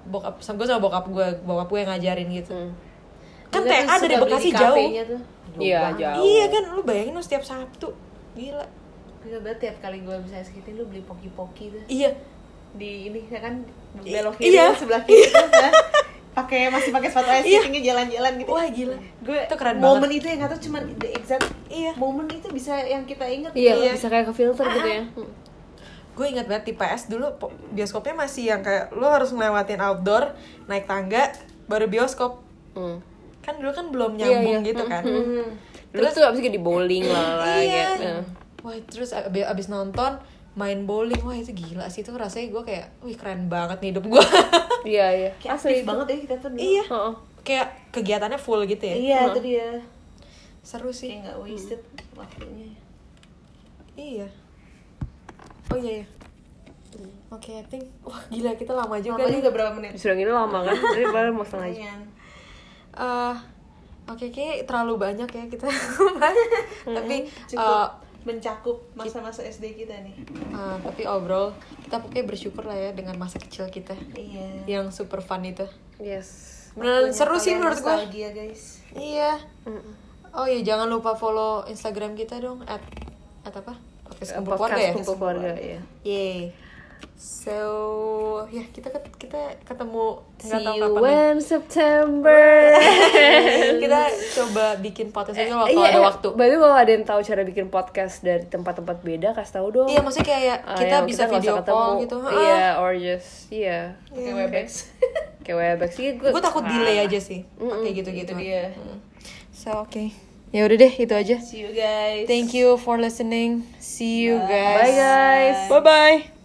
[SPEAKER 1] bokap sama gue sama bokap gue bokap gue yang ngajarin gitu kan
[SPEAKER 3] Kita tuh
[SPEAKER 1] TA dari
[SPEAKER 3] suka beli
[SPEAKER 1] Bekasi
[SPEAKER 3] di
[SPEAKER 1] jauh
[SPEAKER 3] kafenya tuh.
[SPEAKER 2] Iya jauh
[SPEAKER 1] iya kan lu bayangin lu setiap sabtu gila
[SPEAKER 3] Gila banget tiap kali gue bisa skating lu beli poki-poki tuh
[SPEAKER 1] iya
[SPEAKER 3] di ini ya kan
[SPEAKER 1] I-
[SPEAKER 3] belok kiri
[SPEAKER 1] iya.
[SPEAKER 3] kan, sebelah kiri kan kan? pakai masih pakai sepatu ice
[SPEAKER 1] Iya.
[SPEAKER 3] skatingnya jalan-jalan gitu.
[SPEAKER 1] wah gila
[SPEAKER 3] gue
[SPEAKER 1] Itu keren
[SPEAKER 3] momen itu yang nggak tahu cuman the exact
[SPEAKER 1] Iya.
[SPEAKER 3] momen itu bisa yang kita ingat
[SPEAKER 2] Iya
[SPEAKER 1] Iya. Ah.
[SPEAKER 2] bisa kayak ke filter gitu ya
[SPEAKER 1] gue ingat banget di PS dulu po- bioskopnya masih yang kayak lo harus ngelewatin outdoor naik tangga baru bioskop
[SPEAKER 2] Hmm.
[SPEAKER 1] kan dulu kan belum
[SPEAKER 3] Iya,
[SPEAKER 1] nyambung gitu kan
[SPEAKER 3] Mm-hmm.
[SPEAKER 2] Terus tuh abis itu di bowling lah lah
[SPEAKER 1] iya
[SPEAKER 2] gitu
[SPEAKER 1] wah terus ab- abis nonton main bowling wah itu gila sih itu rasanya gue kayak wih keren banget nih hidup gue
[SPEAKER 2] Iya iya
[SPEAKER 3] kayak
[SPEAKER 2] Asli
[SPEAKER 3] aktif
[SPEAKER 2] itu.
[SPEAKER 3] banget ya kita tuh dulu.
[SPEAKER 1] iya
[SPEAKER 2] Heeh.
[SPEAKER 1] kayak kegiatannya full gitu ya
[SPEAKER 3] iya mm. itu dia
[SPEAKER 1] seru
[SPEAKER 3] kayak
[SPEAKER 1] sih
[SPEAKER 3] nggak wasted waktunya
[SPEAKER 1] iya oh iya iya oke I think wah gila kita lama juga
[SPEAKER 3] Lama
[SPEAKER 1] nih.
[SPEAKER 3] juga berapa menit
[SPEAKER 2] Sudah gini lama kan? Dari baru mau setengah
[SPEAKER 1] Iya.
[SPEAKER 2] aja.
[SPEAKER 3] Lumayan.
[SPEAKER 1] Eh, Oke, kayaknya terlalu banyak ya kita <laughs> bahas. tapi eh,
[SPEAKER 3] cukup mencakup masa-masa SD kita nih
[SPEAKER 1] eh, tapi overall kita pokoknya bersyukur lah ya dengan masa kecil kita
[SPEAKER 3] iya
[SPEAKER 1] yang super fun itu.
[SPEAKER 2] Yes.
[SPEAKER 1] Beneran seru sih menurut gue.
[SPEAKER 3] nostalgia guys
[SPEAKER 1] Iya. Oh iya, jangan lupa follow Instagram kita dong at, at apa? Podcast Kumpul Keluarga ya.
[SPEAKER 2] kumpul keluarga ya.
[SPEAKER 1] Yeay. So, ya kita ket- kita ketemu nggak
[SPEAKER 2] See
[SPEAKER 1] tahu kapan
[SPEAKER 2] you
[SPEAKER 1] ya. lagi. <laughs>
[SPEAKER 2] when September. <laughs>
[SPEAKER 1] kita coba bikin podcast aja waktu
[SPEAKER 2] Iya,
[SPEAKER 1] ada
[SPEAKER 2] eh,
[SPEAKER 1] waktu.
[SPEAKER 2] By the way, kalau ada yang tahu cara bikin podcast dari tempat-tempat beda, kasih tahu dong.
[SPEAKER 1] Iya, maksudnya kayak
[SPEAKER 2] Ah,
[SPEAKER 1] kita
[SPEAKER 2] yang
[SPEAKER 1] bisa
[SPEAKER 2] nggak usah
[SPEAKER 1] video
[SPEAKER 2] ketemu.
[SPEAKER 1] call gitu. Ah.
[SPEAKER 2] Iya, or just iya.
[SPEAKER 3] pakai webex
[SPEAKER 2] Kayak webex Iya, sih gue.
[SPEAKER 1] gue Ah, takut delay aja sih kayak gitu gitu
[SPEAKER 3] itu dia
[SPEAKER 1] so oke ya udah deh itu aja
[SPEAKER 3] see you guys
[SPEAKER 1] thank you for listening see you guys
[SPEAKER 2] Bye guys. Bye bye.